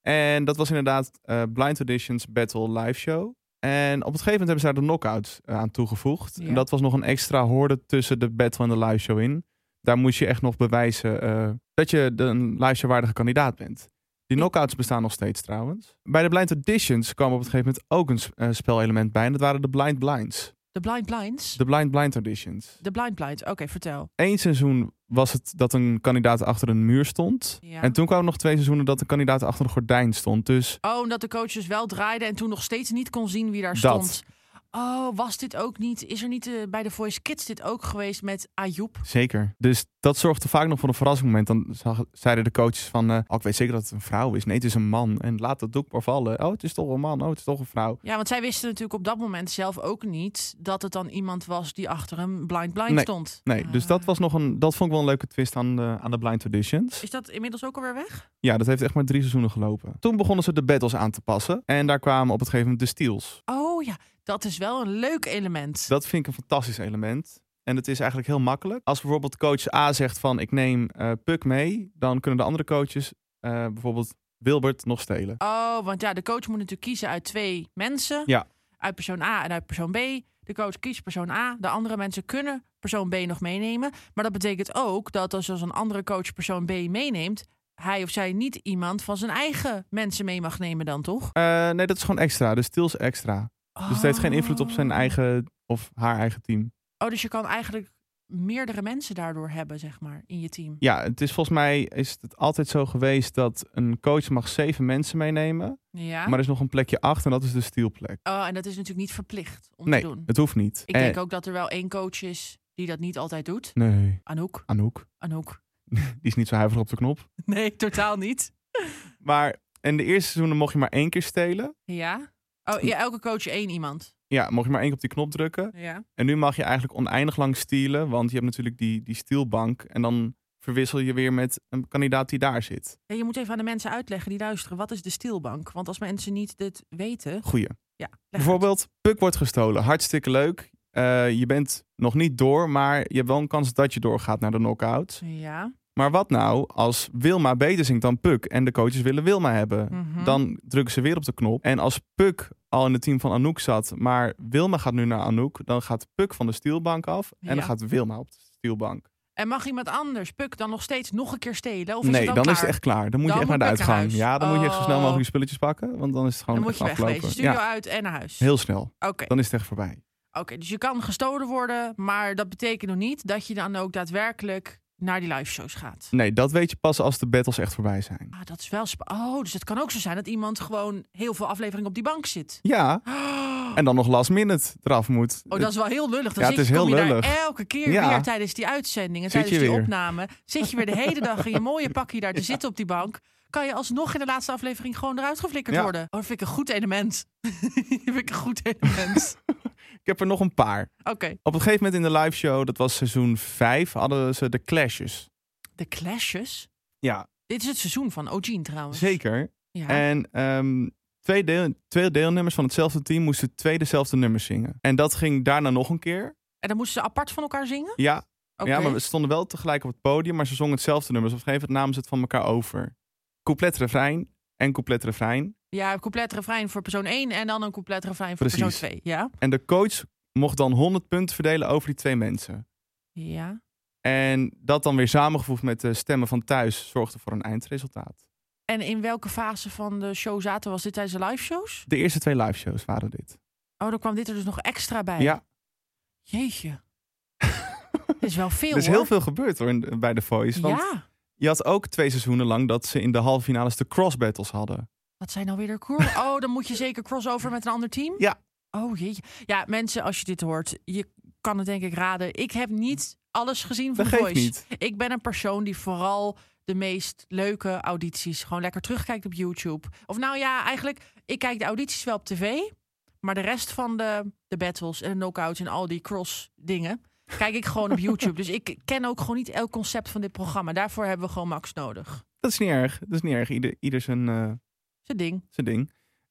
Speaker 1: En dat was inderdaad eh, Blind Auditions Battle Live Show. En op het gegeven moment hebben ze daar de knockouts eh, aan toegevoegd.
Speaker 2: Ja.
Speaker 1: En dat was nog een extra hoorde tussen de battle en de live show in. Daar moest je echt nog bewijzen eh, dat je de, een live show waardige kandidaat bent. Die knockouts bestaan nog steeds trouwens. Bij de Blind Auditions kwam op het gegeven moment ook een s- eh, spelelement bij. En dat waren de Blind Blinds.
Speaker 2: De blind blinds.
Speaker 1: De Blind Blind Auditions.
Speaker 2: De blind blinds. Oké, vertel.
Speaker 1: Eén seizoen was het dat een kandidaat achter een muur stond.
Speaker 2: Ja.
Speaker 1: En toen kwamen nog twee seizoenen dat een kandidaat achter een gordijn stond. Dus
Speaker 2: Oh, omdat de coaches wel draaiden en toen nog steeds niet kon zien wie daar
Speaker 1: Dat.
Speaker 2: stond. Oh, was dit ook niet? Is er niet eh, bij de Voice Kids dit ook geweest met Ayoub?
Speaker 1: Zeker. Dus dat zorgde vaak nog voor een verrassingsmoment. Dan zag- zeiden de coaches van, eh, oh, ik weet zeker dat het een vrouw is. Nee, het is een man. En laat dat doek maar vallen. Oh, het is toch een man. Oh, het is toch een vrouw.
Speaker 2: Ja, want zij wisten natuurlijk op dat moment zelf ook niet dat het dan iemand was die achter een blind blind
Speaker 1: Nee,
Speaker 2: stond.
Speaker 1: Nee, dus
Speaker 2: Ah.
Speaker 1: dat, was nog een, dat vond ik wel een leuke twist aan de, aan de Blind Auditions.
Speaker 2: Is dat inmiddels ook alweer weg?
Speaker 1: Ja, dat heeft echt maar drie seizoenen gelopen. Toen begonnen ze de battles aan te passen. En daar kwamen op het gegeven moment de steals.
Speaker 2: Oh ja, dat is wel een leuk element.
Speaker 1: Dat vind ik een fantastisch element. En het is eigenlijk heel makkelijk. Als bijvoorbeeld coach A zegt van ik neem eh, Puk mee, dan kunnen de andere coaches eh, bijvoorbeeld Wilbert nog stelen.
Speaker 2: Oh, want ja, de coach moet natuurlijk kiezen uit twee mensen.
Speaker 1: Ja.
Speaker 2: Uit persoon A en uit persoon B. De coach kiest persoon A. De andere mensen kunnen persoon B nog meenemen. Maar dat betekent ook dat als, als een andere coach persoon B meeneemt, hij of zij niet iemand van zijn eigen mensen mee mag nemen dan toch?
Speaker 1: Eh, nee, dat is gewoon extra. Dus Tils extra. Dus het heeft geen invloed op zijn
Speaker 2: Oh.
Speaker 1: eigen of haar eigen team.
Speaker 2: Oh, dus je kan eigenlijk meerdere mensen daardoor hebben, zeg maar, in je team.
Speaker 1: Ja, het is volgens mij is het altijd zo geweest dat een coach mag zeven mensen meenemen.
Speaker 2: Ja.
Speaker 1: Maar er is nog een plekje achter en dat is de steelplek.
Speaker 2: Oh, en dat is natuurlijk niet verplicht om
Speaker 1: Nee,
Speaker 2: te doen.
Speaker 1: het hoeft niet.
Speaker 2: Ik
Speaker 1: Eh,
Speaker 2: denk ook dat er wel één coach is die dat niet altijd doet.
Speaker 1: Nee,
Speaker 2: Anouk.
Speaker 1: Anouk.
Speaker 2: Anouk.
Speaker 1: Die is niet zo huiverig op de knop.
Speaker 2: Nee, totaal niet.
Speaker 1: Maar in de eerste seizoenen mocht je maar één keer stelen.
Speaker 2: Ja. Oh, ja, elke coach één iemand.
Speaker 1: Ja, mocht je maar één keer op die knop drukken.
Speaker 2: Ja.
Speaker 1: En nu mag je eigenlijk oneindig lang stelen, want je hebt natuurlijk die, die steelbank. En dan verwissel je weer met een kandidaat die daar zit.
Speaker 2: Je moet even aan de mensen uitleggen die luisteren. Wat is de stilbank? Want als mensen niet dit weten...
Speaker 1: Goeie.
Speaker 2: Ja, leg uit.
Speaker 1: Bijvoorbeeld, puk wordt gestolen. Hartstikke leuk. Eh, je bent nog niet door, maar je hebt wel een kans dat je doorgaat naar de knockout.
Speaker 2: Ja.
Speaker 1: Maar wat nou als Wilma beter zingt dan Puk en de coaches willen Wilma hebben?
Speaker 2: Mhm.
Speaker 1: Dan drukken ze weer op de knop. En als Puk al in het team van Anouk zat, maar Wilma gaat nu naar Anouk, dan gaat Puk van de stielbank af en
Speaker 2: Ja.
Speaker 1: dan gaat Wilma op de Stielbank.
Speaker 2: En mag iemand anders Puk dan nog steeds nog een keer stelen? Of is
Speaker 1: nee,
Speaker 2: het
Speaker 1: dan,
Speaker 2: dan,
Speaker 1: is het
Speaker 2: klaar?
Speaker 1: echt klaar. Dan moet
Speaker 2: Dan
Speaker 1: je echt
Speaker 2: moet
Speaker 1: naar de
Speaker 2: Puk naar
Speaker 1: uitgang.
Speaker 2: huis.
Speaker 1: ja, dan moet je echt zo snel
Speaker 2: Oh.
Speaker 1: mogelijk je spulletjes pakken. Want dan is het gewoon
Speaker 2: Dan moet
Speaker 1: echt
Speaker 2: je wegwezen.
Speaker 1: afgelopen.
Speaker 2: Studio
Speaker 1: Ja,
Speaker 2: uit en naar huis.
Speaker 1: heel snel.
Speaker 2: Oké,
Speaker 1: Dan is het echt voorbij.
Speaker 2: oké. dus je kan gestolen worden, maar dat betekent nog niet dat je dan ook daadwerkelijk naar die live shows gaat.
Speaker 1: Nee, dat weet je pas als de battles echt voorbij zijn.
Speaker 2: Ah, dat is wel spa- Oh, dus het kan ook zo zijn dat iemand gewoon heel veel afleveringen op die bank zit.
Speaker 1: Ja, en dan nog last minute eraf moet.
Speaker 2: Oh, dat is wel heel lullig. Dan
Speaker 1: Ja,
Speaker 2: zit,
Speaker 1: het is
Speaker 2: kom
Speaker 1: heel
Speaker 2: je
Speaker 1: lullig.
Speaker 2: daar elke keer
Speaker 1: Ja.
Speaker 2: weer tijdens die uitzendingen,
Speaker 1: Zit
Speaker 2: tijdens
Speaker 1: je
Speaker 2: die
Speaker 1: weer.
Speaker 2: opname. Zit je weer de hele dag in je mooie pakje daar te zitten op die bank. Kan je alsnog in de laatste aflevering gewoon eruit geflikkerd
Speaker 1: Ja.
Speaker 2: worden. Oh, dat vind ik een goed element. dat vind ik een goed element.
Speaker 1: Ik heb er nog een paar.
Speaker 2: Oké,
Speaker 1: Op een gegeven moment in de live show, dat was seizoen 5, hadden ze de clashes.
Speaker 2: de clashes.
Speaker 1: Ja,
Speaker 2: Dit is het seizoen van Ogin trouwens.
Speaker 1: zeker.
Speaker 2: Ja.
Speaker 1: En ehm, twee, deel, twee deelnemers van hetzelfde team moesten twee dezelfde nummers zingen. En dat ging daarna nog een keer.
Speaker 2: En dan moesten ze apart van elkaar zingen?
Speaker 1: Ja,
Speaker 2: Oké.
Speaker 1: ja maar we stonden wel tegelijk op het podium, maar ze zongen hetzelfde nummer. Dus op een gegeven moment namen ze het van elkaar over. Couplet refrein en couplet refrein.
Speaker 2: Ja, een compleet refrein voor persoon 1 en dan een compleet refrein voor
Speaker 1: Precies.
Speaker 2: persoon 2. Ja.
Speaker 1: En de coach mocht dan 100 punten verdelen over die twee mensen.
Speaker 2: Ja.
Speaker 1: En dat dan weer samengevoegd met de stemmen van thuis zorgde voor een eindresultaat.
Speaker 2: En in welke fase van de show zaten? Was dit tijdens de live shows?
Speaker 1: De eerste twee live shows waren dit.
Speaker 2: Oh, dan kwam dit er dus nog extra bij.
Speaker 1: Ja,
Speaker 2: Jeetje. Dit is wel veel.
Speaker 1: er is
Speaker 2: hoor.
Speaker 1: heel veel gebeurd hoor in- bij The Voice. Want
Speaker 2: Ja.
Speaker 1: je had ook twee seizoenen lang dat ze in de halve finales de cross battles hadden.
Speaker 2: Wat zijn nou weer de cross? Oh, dan moet je zeker crossover met een ander team?
Speaker 1: Ja.
Speaker 2: Oh jeetje. Ja, mensen, als je dit hoort, je kan het denk ik raden. Ik heb niet alles gezien van
Speaker 1: Dat
Speaker 2: The
Speaker 1: geeft
Speaker 2: Voice.
Speaker 1: niet.
Speaker 2: Ik ben een persoon die vooral de meest leuke audities gewoon lekker terugkijkt op YouTube. Of nou ja, eigenlijk, ik kijk de audities wel op tv. Maar de rest van de, de battles en de knockouts en al die cross dingen... kijk ik gewoon op YouTube. Dus ik ken ook gewoon niet elk concept van dit programma. Daarvoor hebben we gewoon Max nodig.
Speaker 1: Dat is niet erg. Dat is niet erg. Ieder, ieder zijn, eh,
Speaker 2: Zijn ding.
Speaker 1: zijn ding.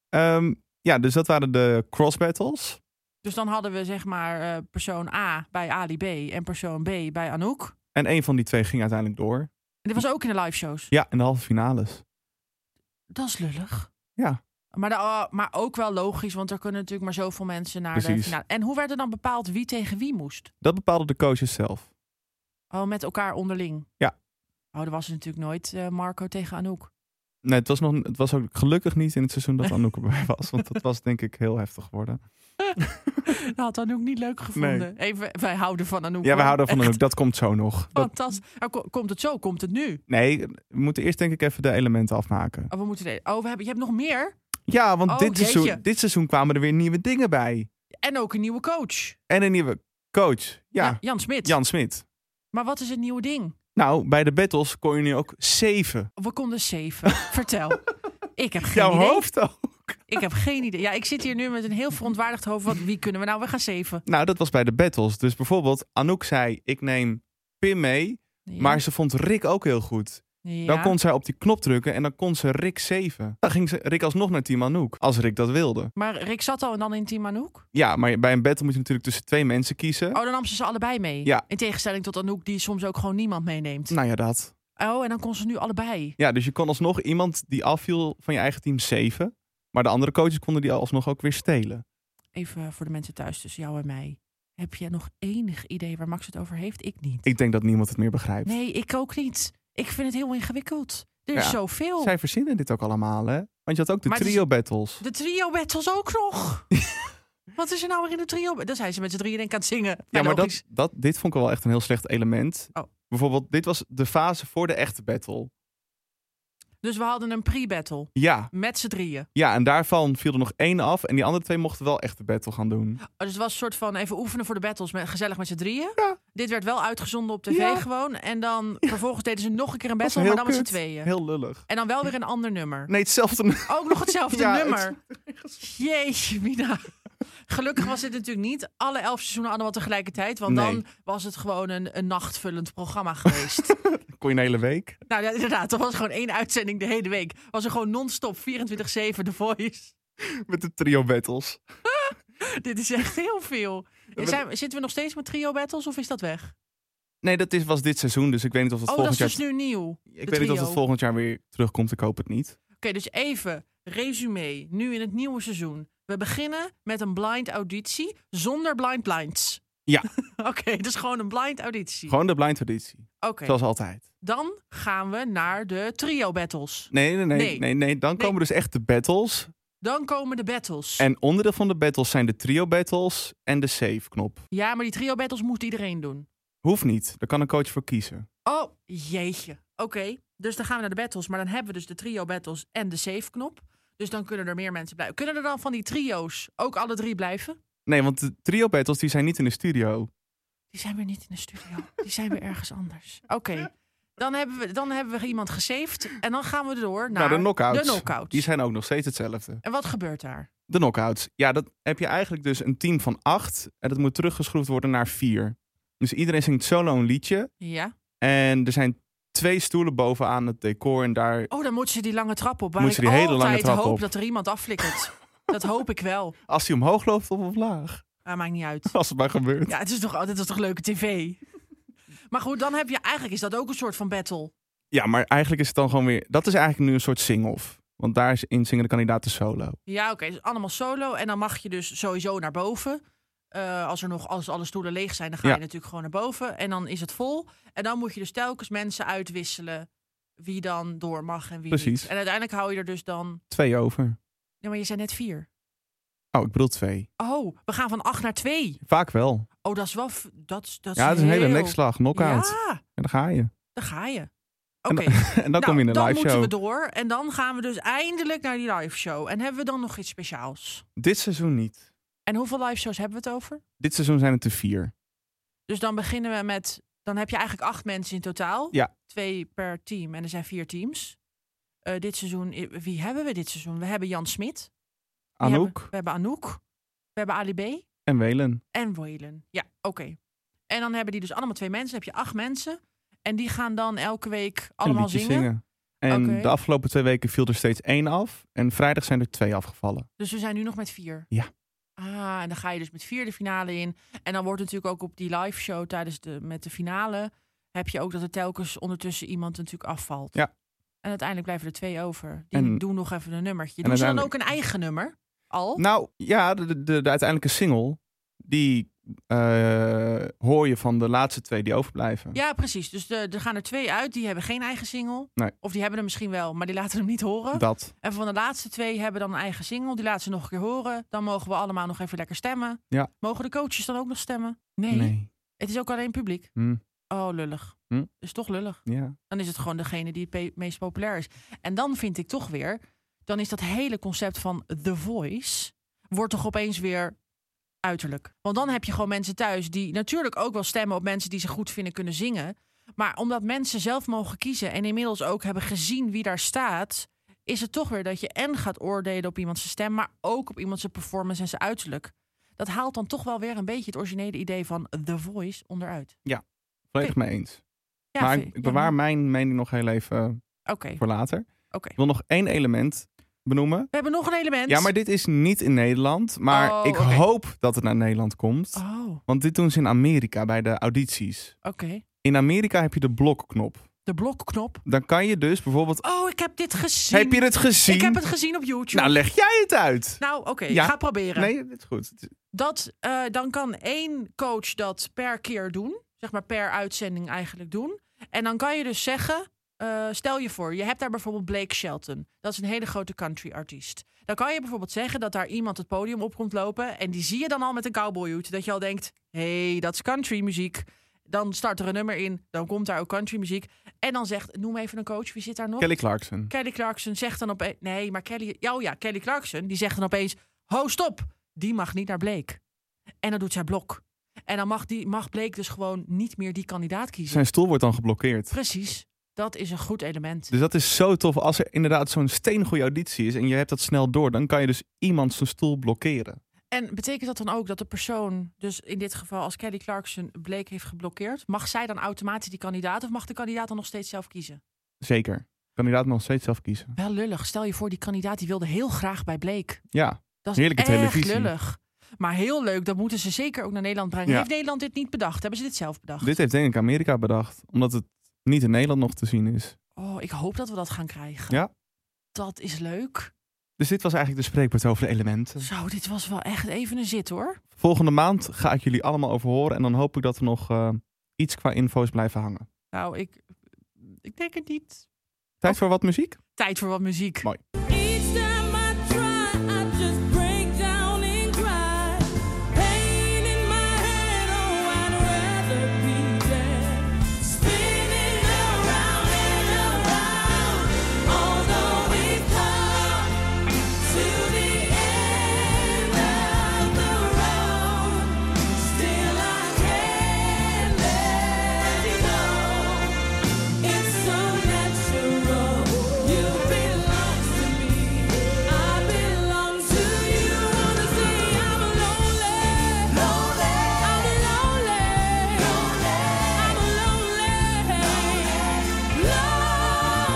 Speaker 1: Ehm, ja, dus dat waren de cross battles.
Speaker 2: Dus dan hadden we zeg maar eh, persoon A bij Ali B en persoon B bij Anouk. En
Speaker 1: En een van die twee ging uiteindelijk door.
Speaker 2: dit was ook in de live shows.
Speaker 1: Ja, in de halve finales.
Speaker 2: Dat is lullig.
Speaker 1: Ja.
Speaker 2: Maar, da- eh, maar ook wel logisch, want er kunnen natuurlijk maar zoveel mensen naar de
Speaker 1: Precies.
Speaker 2: finale. En hoe werd er dan bepaald wie tegen wie moest?
Speaker 1: Dat bepaalde de coaches zelf.
Speaker 2: Oh, met elkaar onderling.
Speaker 1: Ja.
Speaker 2: Oh, er was natuurlijk nooit eh, Marco tegen Anouk.
Speaker 1: Nee, het was, nog, het was ook gelukkig niet in het seizoen dat Anouk erbij was. Want dat was denk ik heel heftig geworden.
Speaker 2: Dat had Anouk niet leuk gevonden. Even, wij houden van Anouk.
Speaker 1: Ja, we
Speaker 2: hoor.
Speaker 1: houden van
Speaker 2: Echt
Speaker 1: Anouk. Dat komt zo nog. Dat,
Speaker 2: Fantastisch. Nou, ko- komt het zo? Komt het nu?
Speaker 1: nee, we moeten eerst denk ik even de elementen afmaken.
Speaker 2: Oh, we moeten. de- Oh, we hebben, je hebt nog meer.
Speaker 1: Ja, want
Speaker 2: Oh,
Speaker 1: dit,
Speaker 2: jeetje.
Speaker 1: seizoen, dit seizoen kwamen er weer nieuwe dingen bij.
Speaker 2: En ook een nieuwe coach.
Speaker 1: En een nieuwe coach. Ja,
Speaker 2: Ja, Jan Smit.
Speaker 1: Jan Smit.
Speaker 2: Maar wat is het nieuwe ding?
Speaker 1: Nou, bij de battles kon je nu ook zeven.
Speaker 2: We konden zeven. Vertel. Ik heb geen
Speaker 1: Jouw
Speaker 2: idee.
Speaker 1: hoofd ook.
Speaker 2: Ik heb geen idee. Ja, ik zit hier nu met een heel verontwaardigd hoofd. Wat, wie kunnen we nou? We gaan zeven.
Speaker 1: Nou, dat was bij de battles. Dus bijvoorbeeld, Anouk zei, ik neem Pim mee.
Speaker 2: Ja.
Speaker 1: Maar ze vond Rick ook heel goed.
Speaker 2: Ja.
Speaker 1: Dan kon zij op die knop drukken en dan kon ze Rick zeven. Dan ging ze Rick alsnog naar team Anouk, als Rick dat wilde.
Speaker 2: Maar Rick zat al en dan in Team Anouk.
Speaker 1: Ja, maar bij een battle moet je natuurlijk tussen twee mensen kiezen.
Speaker 2: Oh, dan nam ze ze allebei mee.
Speaker 1: Ja.
Speaker 2: In tegenstelling tot Anouk, die soms ook gewoon niemand meeneemt.
Speaker 1: Nou ja, dat.
Speaker 2: Oh, en dan kon ze nu allebei.
Speaker 1: Ja, dus je kon alsnog iemand die afviel van je eigen team zeven. Maar de andere coaches konden die alsnog ook weer stelen.
Speaker 2: Even voor de mensen thuis tussen jou en mij. Heb je nog enig idee waar Max het over heeft? Ik niet.
Speaker 1: Ik denk dat niemand het meer begrijpt.
Speaker 2: Nee, ik ook niet. Ik vind het heel ingewikkeld. Er is
Speaker 1: Ja.
Speaker 2: zoveel.
Speaker 1: Zij verzinnen dit ook allemaal, hè? Want je had ook de
Speaker 2: Oh. Maar het is-
Speaker 1: trio battles.
Speaker 2: De trio battles ook nog. Wat is er nou weer in de trio? Dan zijn ze met z'n drieën denk ik aan het zingen.
Speaker 1: Ja, maar
Speaker 2: logisch.
Speaker 1: dat, dat, dit vond ik wel echt een heel slecht element.
Speaker 2: Oh.
Speaker 1: Bijvoorbeeld, dit was de fase voor de echte battle.
Speaker 2: Dus we hadden een pre-battle.
Speaker 1: Ja,
Speaker 2: Met z'n drieën.
Speaker 1: ja, en daarvan viel er nog één af. En die andere twee mochten wel echt de battle gaan doen.
Speaker 2: Oh, Dus het was een soort van even oefenen voor de battles. Met, gezellig met z'n drieën.
Speaker 1: Ja.
Speaker 2: Dit werd wel uitgezonden op tv
Speaker 1: Ja.
Speaker 2: gewoon. En dan vervolgens deden ze nog een keer een
Speaker 1: Was
Speaker 2: battle,
Speaker 1: heel
Speaker 2: maar dan met z'n
Speaker 1: kut,
Speaker 2: tweeën.
Speaker 1: Heel lullig.
Speaker 2: En dan wel weer een ander nummer.
Speaker 1: Nee, hetzelfde.
Speaker 2: Ook nog hetzelfde
Speaker 1: Ja,
Speaker 2: nummer. Jeetje, Mina. Gelukkig was dit natuurlijk niet alle elf seizoenen allemaal tegelijkertijd. Want
Speaker 1: Nee.
Speaker 2: dan was het gewoon een, een nachtvullend programma geweest.
Speaker 1: Kon je een hele week.
Speaker 2: Nou ja, inderdaad, dat was gewoon één uitzending de hele week. Was er gewoon non-stop 24-7 The Voice.
Speaker 1: Met de trio battles.
Speaker 2: Dit is echt heel veel.
Speaker 1: werd-
Speaker 2: Zijn, zitten we nog steeds met trio battles of is dat weg?
Speaker 1: Nee, dat is, was dit seizoen. Dus ik weet niet of dat
Speaker 2: Oh, dat
Speaker 1: volgend
Speaker 2: is
Speaker 1: jaar.
Speaker 2: dus nu nieuw.
Speaker 1: ik weet niet of dat
Speaker 2: trio.
Speaker 1: volgend jaar weer terugkomt. Ik hoop het niet.
Speaker 2: Oké, dus even resume. Nu in het nieuwe seizoen. We beginnen met een blind auditie zonder blind blinds.
Speaker 1: Ja.
Speaker 2: Oké, dus gewoon een blind auditie.
Speaker 1: Gewoon de blind auditie.
Speaker 2: Oké,
Speaker 1: Zoals altijd.
Speaker 2: dan gaan we naar de trio battles.
Speaker 1: Nee, nee, nee.
Speaker 2: Nee.
Speaker 1: nee. nee, Dan
Speaker 2: Nee.
Speaker 1: komen dus echt de battles.
Speaker 2: Dan komen de battles.
Speaker 1: En onderdeel van de battles zijn de trio battles en de save knop.
Speaker 2: Ja, maar die trio battles moest iedereen doen.
Speaker 1: Hoeft niet. Daar kan een coach voor kiezen.
Speaker 2: Oh, jeetje. Oké, dus dan gaan we naar de battles. Maar dan hebben we dus de trio battles en de save knop. Dus dan kunnen er meer mensen blijven. Kunnen er dan van die trio's ook alle drie blijven?
Speaker 1: Nee, want de trio battles die zijn niet in de studio.
Speaker 2: Die zijn weer niet in de studio. Die zijn weer ergens anders. Oké. Dan hebben, we, dan hebben we iemand gesaved. En dan gaan we door naar
Speaker 1: Nou, de knockouts.
Speaker 2: De knockouts.
Speaker 1: Die zijn ook nog steeds hetzelfde.
Speaker 2: En wat gebeurt daar?
Speaker 1: De knockouts. Ja, dat heb je eigenlijk dus een team van acht. En dat moet teruggeschroefd worden naar vier. Dus iedereen zingt solo een liedje.
Speaker 2: Ja.
Speaker 1: En er zijn twee stoelen bovenaan het decor. En daar.
Speaker 2: Oh, dan moeten ze die lange trap op. Waar
Speaker 1: Moeten
Speaker 2: ik
Speaker 1: ze die hele
Speaker 2: altijd
Speaker 1: lange trap
Speaker 2: hoop
Speaker 1: op.
Speaker 2: dat er iemand afflikkert. dat hoop ik wel.
Speaker 1: Als hij omhoog loopt of omlaag.
Speaker 2: Maar maakt niet uit.
Speaker 1: Als het maar gebeurt.
Speaker 2: Ja, het is toch, oh, dit is toch leuke tv? Maar goed, dan heb je eigenlijk is dat ook een soort van battle.
Speaker 1: Ja, maar eigenlijk is het dan gewoon weer. Dat is eigenlijk nu een soort sing-off. Want daar is in zingen de kandidaten solo.
Speaker 2: Ja, oké, dus allemaal solo. En dan mag je dus sowieso naar boven. Eh, als er nog als alle stoelen leeg zijn, dan ga
Speaker 1: Ja.
Speaker 2: je natuurlijk gewoon naar boven. En dan is het vol. En dan moet je dus telkens mensen uitwisselen wie dan door mag en wie
Speaker 1: Precies.
Speaker 2: niet. En uiteindelijk hou je er dus dan.
Speaker 1: Twee over.
Speaker 2: Ja, maar je zei net vier.
Speaker 1: Oh, ik bedoel twee.
Speaker 2: Oh, we gaan van acht naar twee.
Speaker 1: Vaak wel.
Speaker 2: Oh, dat is wel. f- Dat, is- dat
Speaker 1: Ja, het is een hele
Speaker 2: heel-
Speaker 1: nekslag. Knockout.
Speaker 2: Ja,
Speaker 1: En dan ga je.
Speaker 2: daar ga je.
Speaker 1: En
Speaker 2: Oké. Nou,
Speaker 1: dan- En dan kom je in een
Speaker 2: dan
Speaker 1: live show.
Speaker 2: moeten we door en dan gaan we dus eindelijk naar die live show. En hebben we dan nog iets speciaals?
Speaker 1: Dit seizoen niet.
Speaker 2: En hoeveel live shows hebben we het over?
Speaker 1: Dit seizoen zijn het er vier.
Speaker 2: Dus dan beginnen we met. Dan heb je eigenlijk acht mensen in totaal.
Speaker 1: Ja.
Speaker 2: Twee per team en er zijn vier teams. Eh, dit seizoen, i- wie hebben we dit seizoen? We hebben Jan Smit. Die
Speaker 1: Anouk
Speaker 2: hebben- we hebben Anouk. We hebben Ali B.
Speaker 1: en Welen.
Speaker 2: En Waylon. Ja, oké. En dan hebben die dus allemaal twee mensen. Dan heb je acht mensen. En die gaan dan elke week allemaal
Speaker 1: en liedjes
Speaker 2: zingen.
Speaker 1: En
Speaker 2: Oké.
Speaker 1: de afgelopen twee weken viel er steeds één af. En vrijdag zijn er twee afgevallen.
Speaker 2: Dus we zijn nu nog met vier.
Speaker 1: Ja.
Speaker 2: Ah, en dan ga je dus met vier de finale in. En dan wordt natuurlijk ook op die live show tijdens de met de finale heb je ook dat er telkens ondertussen iemand natuurlijk afvalt.
Speaker 1: Ja.
Speaker 2: En uiteindelijk blijven er twee over. Die
Speaker 1: En-
Speaker 2: doen nog even een nummertje.
Speaker 1: en
Speaker 2: Doen ze dan ook een
Speaker 1: uiteindelijk-
Speaker 2: eigen nummer? Al?
Speaker 1: Nou ja, de, de, de, de uiteindelijke single. Die eh, hoor je van de laatste twee die overblijven.
Speaker 2: Ja, precies. Dus de- er gaan er twee uit. Die hebben geen eigen single.
Speaker 1: Nee.
Speaker 2: Of die hebben hem misschien wel, maar die laten hem niet horen.
Speaker 1: Dat.
Speaker 2: En van de laatste twee hebben dan een eigen single. Die laten ze nog een keer horen. Dan mogen we allemaal nog even lekker stemmen.
Speaker 1: Ja.
Speaker 2: Mogen de coaches dan ook nog stemmen? Nee.
Speaker 1: Nee.
Speaker 2: Het is ook alleen publiek.
Speaker 1: Hm,
Speaker 2: Oh, lullig.
Speaker 1: Hm?
Speaker 2: Is toch lullig.
Speaker 1: ja.
Speaker 2: Dan is het gewoon degene die het pe- meest populair is. En dan vind ik toch weer, dan is dat hele concept van The Voice, wordt toch opeens weer uiterlijk. Want dan heb je gewoon mensen thuis die natuurlijk ook wel stemmen op mensen die ze goed vinden kunnen zingen. Maar omdat mensen zelf mogen kiezen en inmiddels ook hebben gezien wie daar staat, is het toch weer dat je en gaat oordelen op iemands stem, maar ook op iemands performance en zijn uiterlijk. Dat haalt dan toch wel weer een beetje het originele idee van The Voice onderuit.
Speaker 1: Volledig mee eens.
Speaker 2: Ja,
Speaker 1: maar
Speaker 2: vind-
Speaker 1: ik,
Speaker 2: ja,
Speaker 1: ik bewaar mijn mening nog heel even eh,
Speaker 2: Oké,
Speaker 1: voor later.
Speaker 2: oké.
Speaker 1: Ik wil nog één element benoemen.
Speaker 2: We hebben nog een element.
Speaker 1: Ja, maar dit is niet in Nederland. Maar
Speaker 2: Oh,
Speaker 1: ik
Speaker 2: oké.
Speaker 1: hoop dat het naar Nederland komt.
Speaker 2: Oh, oké.
Speaker 1: Want dit doen ze in Amerika bij de audities. In Amerika heb je de blokknop.
Speaker 2: De blokknop.
Speaker 1: Dan kan je dus bijvoorbeeld.
Speaker 2: Oh, ik heb dit gezien.
Speaker 1: Heb je het gezien?
Speaker 2: Ik heb het gezien op
Speaker 1: Nou,
Speaker 2: YouTube. Nou,
Speaker 1: leg jij het uit.
Speaker 2: oké,
Speaker 1: Ja.
Speaker 2: ik ga proberen.
Speaker 1: Nee, dit is goed. Het is-
Speaker 2: Dat, eh, dan kan één coach dat per keer doen. Zeg maar per uitzending eigenlijk doen. En dan kan je dus zeggen... eh, stel je voor, je hebt daar bijvoorbeeld Blake Shelton. Dat is een hele grote country artiest. Dan kan je bijvoorbeeld zeggen dat daar iemand het podium op komt lopen. En die zie je dan al met een cowboyhoed. Dat je al denkt, hé, hey, dat is country muziek. Dan start er een nummer in. Dan komt daar ook country muziek. En dan zegt, noem even een coach. Wie zit daar nog?
Speaker 1: Kelly Clarkson.
Speaker 2: Kelly Clarkson zegt dan opeens... Nee, maar Kelly... Oh ja, Kelly Clarkson, die zegt dan opeens... Ho, stop! Die mag niet naar Blake. En dan doet zij blok. En dan mag, die, mag Blake dus gewoon niet meer die kandidaat kiezen.
Speaker 1: Zijn stoel wordt dan geblokkeerd.
Speaker 2: Precies. Dat is een goed element.
Speaker 1: Dus dat is zo tof. Als er inderdaad zo'n steengoede auditie is en je hebt dat snel door, dan kan je dus iemand zijn stoel blokkeren.
Speaker 2: En betekent dat dan ook dat de persoon... Dus in dit geval, als Kelly Clarkson Blake heeft geblokkeerd... Mag zij dan automatisch die kandidaat... of mag de kandidaat dan nog steeds zelf kiezen?
Speaker 1: Zeker. Kandidaat mag nog steeds zelf kiezen.
Speaker 2: Wel lullig. Stel je voor, die kandidaat die wilde heel graag bij Blake.
Speaker 1: Ja.
Speaker 2: Dat is
Speaker 1: Heerlijke
Speaker 2: echt
Speaker 1: televisie.
Speaker 2: lullig. Maar heel leuk, dat moeten ze zeker ook naar Nederland brengen.
Speaker 1: Ja.
Speaker 2: Heeft Nederland dit niet bedacht? Hebben ze dit zelf bedacht?
Speaker 1: Dit heeft denk ik Amerika bedacht, omdat het niet in Nederland nog te zien is.
Speaker 2: Oh, ik hoop dat we dat gaan krijgen.
Speaker 1: Ja.
Speaker 2: Dat is leuk.
Speaker 1: Dus dit was eigenlijk de spreekbeurt over de elementen.
Speaker 2: Zo, dit was wel echt even een zit hoor.
Speaker 1: Volgende maand ga ik jullie allemaal over horen. En dan hoop ik dat er nog eh, iets qua info's blijven hangen.
Speaker 2: Nou, ik, ik denk het niet.
Speaker 1: Tijd voor wat muziek?
Speaker 2: Tijd voor wat muziek.
Speaker 1: Mooi.
Speaker 8: Each time I try, I just break down and cry. Pain in my head, oh, I'd rather be dead. Spinning around and around, although we've come to the end of the road, still I can't let go. It's so natural. You belong to me. I belong to you. Wanna say I'm lonely. Lonely. I'm lonely. Lonely. I'm lonely.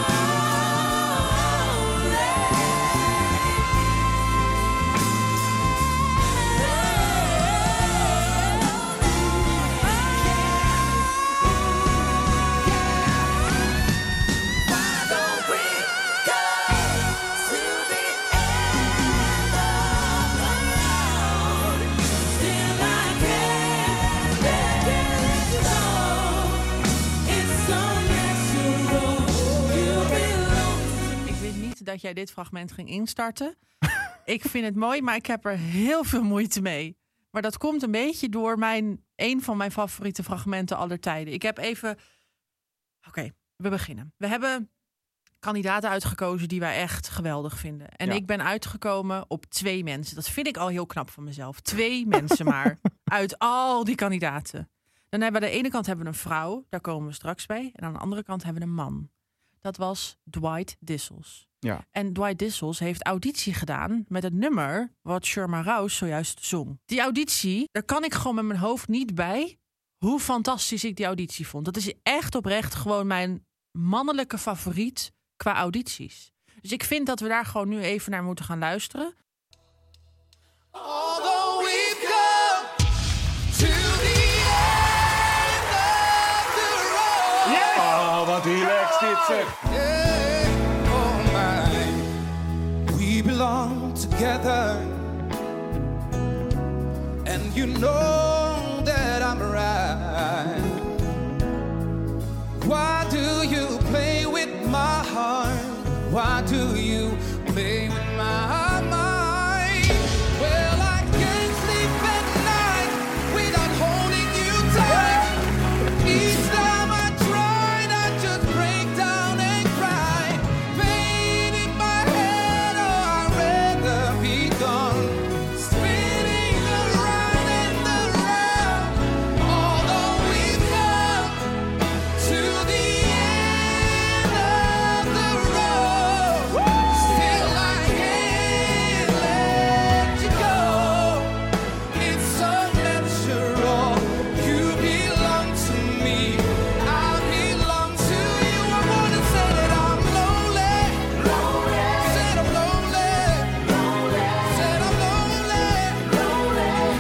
Speaker 2: Ik weet niet dat jij dit fragment ging instarten. ik vind het mooi, maar ik heb er heel veel moeite mee. Maar dat komt een beetje door mijn, een van mijn favoriete fragmenten aller tijden. Ik heb even. Oké, we beginnen. We hebben kandidaten uitgekozen die wij echt geweldig vinden. En
Speaker 1: Ja.
Speaker 2: ik ben uitgekomen op twee mensen. Dat vind ik al heel knap van mezelf. Twee mensen maar. Uit al die kandidaten. Dan hebben we aan de ene kant hebben we een vrouw, daar komen we straks bij. En aan de andere kant hebben we een man. Dat was Dwight Dissels.
Speaker 1: Ja.
Speaker 2: En Dwight Dissels heeft auditie gedaan met het nummer wat Sherma Rouse zojuist zong. Die auditie, daar kan ik gewoon met mijn hoofd niet bij hoe fantastisch ik die auditie vond. Dat is echt oprecht gewoon mijn mannelijke favoriet qua audities. Dus ik vind dat we daar gewoon nu even naar moeten gaan luisteren.
Speaker 8: Although we've come to the end of the road.
Speaker 9: Oh, wat relaxed dit zeg.
Speaker 8: Yeah, oh my. We belong together. And you know that I'm right. Why do you play with my heart? Why do you play with my mind? Well, I can't sleep at night without holding you tight. Each time I try, I just break down and cry. Pain in my head, oh, I'd rather be gone. Spinning around and around, although we've come to the end of the road, still I can't let you go. It's so natural. You belong to me. I belong to you. I wanna say that I'm lonely. Lonely. Said I'm lonely. Lonely. Said I'm lonely. Lonely.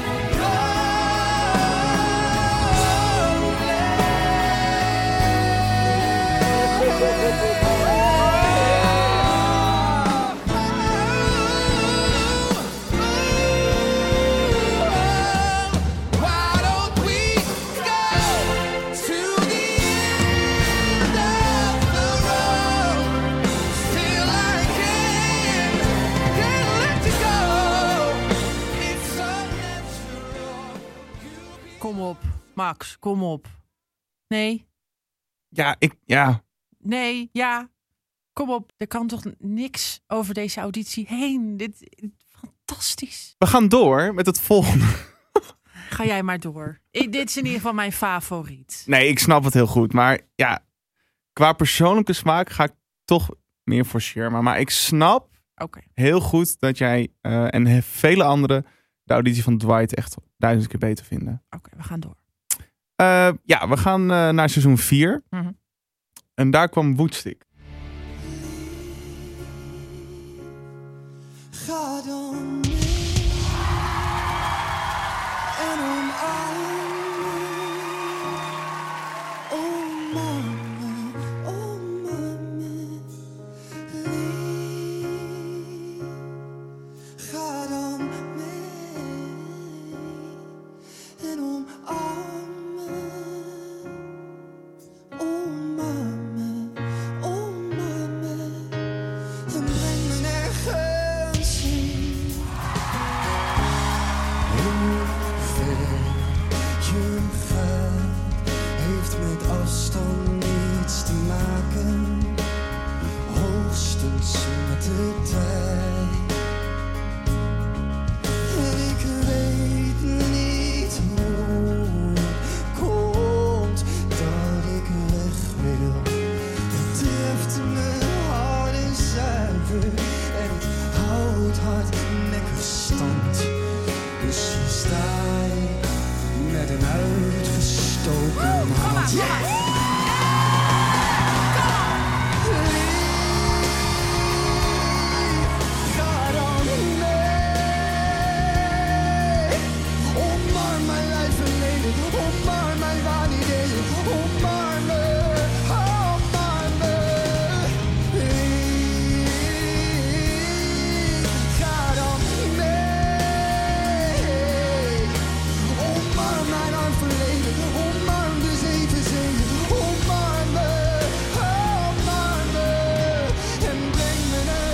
Speaker 8: Oh. Why don't we go to the end of the road? Still I can, can't let you go. It's so natural. You be-
Speaker 2: Kom op, Max, kom op. Nee,
Speaker 1: Ja, ik, ja.
Speaker 2: nee, ja. Kom op, er kan toch niks over deze auditie heen. Dit fantastisch.
Speaker 1: We gaan door met het volgende.
Speaker 2: Ga jij maar door. Ik, dit is in ieder geval mijn favoriet.
Speaker 1: Nee, ik snap het heel goed. Maar ja, qua persoonlijke smaak ga ik toch meer voor Sherma. Maar ik snap
Speaker 2: Oké.
Speaker 1: heel goed dat jij eh, en he- vele anderen de auditie van Dwight echt duizend keer beter vinden.
Speaker 2: Oké, we gaan door.
Speaker 1: Eh, ja, we gaan eh, naar seizoen 4.
Speaker 2: Mhm.
Speaker 1: En daar kwam Woodstick.
Speaker 8: God on me and on I. Oh mama, oh mama, leave Oh,
Speaker 10: Dus
Speaker 2: on, come on.
Speaker 8: God only Oh, maar mijn lijf verleden. Oh, maar mijn waanidee. Oh, maar me. Oh, maar me. Ik ga dan niet mee. Oh, maar mijn arm verleden. Oh, maar de zeven zeeën. Oh, maar me. Oh, maar me. En breng me naar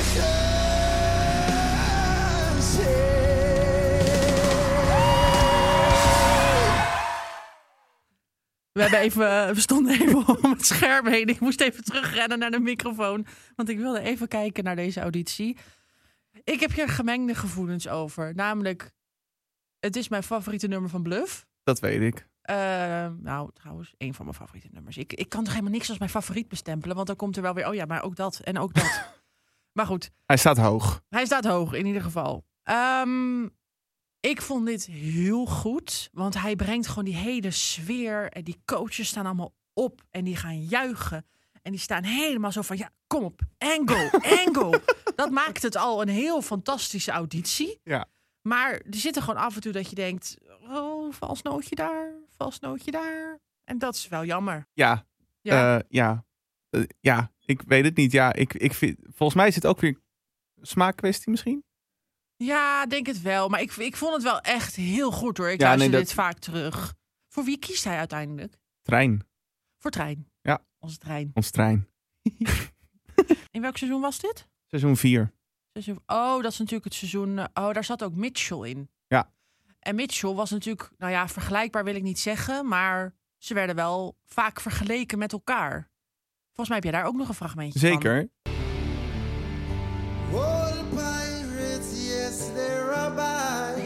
Speaker 2: We, hebben even, eh, we stonden even om het scherm heen. Ik moest even terugrennen naar de microfoon. Want ik wilde even kijken naar deze auditie. Ik heb hier gemengde gevoelens over. Namelijk, het is mijn favoriete nummer van Bluff.
Speaker 1: Dat weet ik.
Speaker 2: Eh, nou, trouwens, één van mijn favoriete nummers. Ik, ik kan toch helemaal niks als mijn favoriet bestempelen. Want dan komt er wel weer, oh ja, maar ook dat en ook dat. maar goed,
Speaker 1: Hij staat hoog.
Speaker 2: hij staat hoog in ieder geval. Ehm, ik vond dit heel goed, want hij brengt gewoon die hele sfeer en die coaches staan allemaal op en die gaan juichen. En die staan helemaal zo van, ja, kom op, angle, angle. Dat maakt het al een heel fantastische auditie.
Speaker 1: Ja.
Speaker 2: Maar er zitten gewoon af en toe dat je denkt, oh, vals nootje daar, vals nootje daar. En dat is wel jammer.
Speaker 1: Ja,
Speaker 2: Ja.
Speaker 1: ja. ja. Eh, ja, ik weet het niet. Ja, ik, ik vind, volgens mij is het ook weer een smaakkwestie misschien.
Speaker 2: Ja, denk het wel. Maar ik, ik vond het wel echt heel goed hoor. Ik
Speaker 1: Ja,
Speaker 2: luister
Speaker 1: nee,
Speaker 2: dit
Speaker 1: dat-
Speaker 2: vaak terug. Voor wie kiest hij uiteindelijk?
Speaker 1: Trein,
Speaker 2: Voor trein.
Speaker 1: Ja.
Speaker 2: Onze trein.
Speaker 1: ons trein.
Speaker 2: In welk seizoen was dit?
Speaker 1: Seizoen 4.
Speaker 2: Seizoen... Oh, dat is natuurlijk het seizoen. eh, Oh, daar zat ook Mitchell in.
Speaker 1: Ja.
Speaker 2: En Mitchell was natuurlijk, nou ja, vergelijkbaar wil ik niet zeggen. Maar ze werden wel vaak vergeleken met elkaar. Volgens mij heb jij daar ook nog een fragmentje van.
Speaker 1: Zeker.
Speaker 8: All pirates, yes, they're a buy.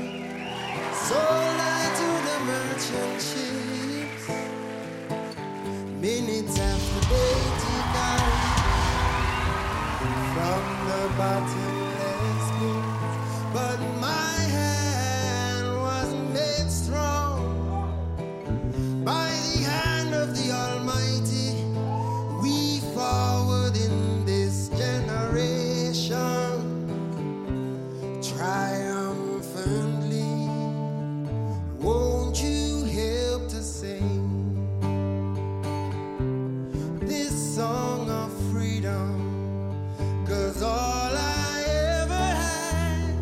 Speaker 8: Sold I to the merchant ships. Minutes after they died from the bottomless pit. But my hand was made strong by the hand of the Almighty. We forward in this generation triumphantly. Won't you help to sing this song of freedom? Cause all I ever had,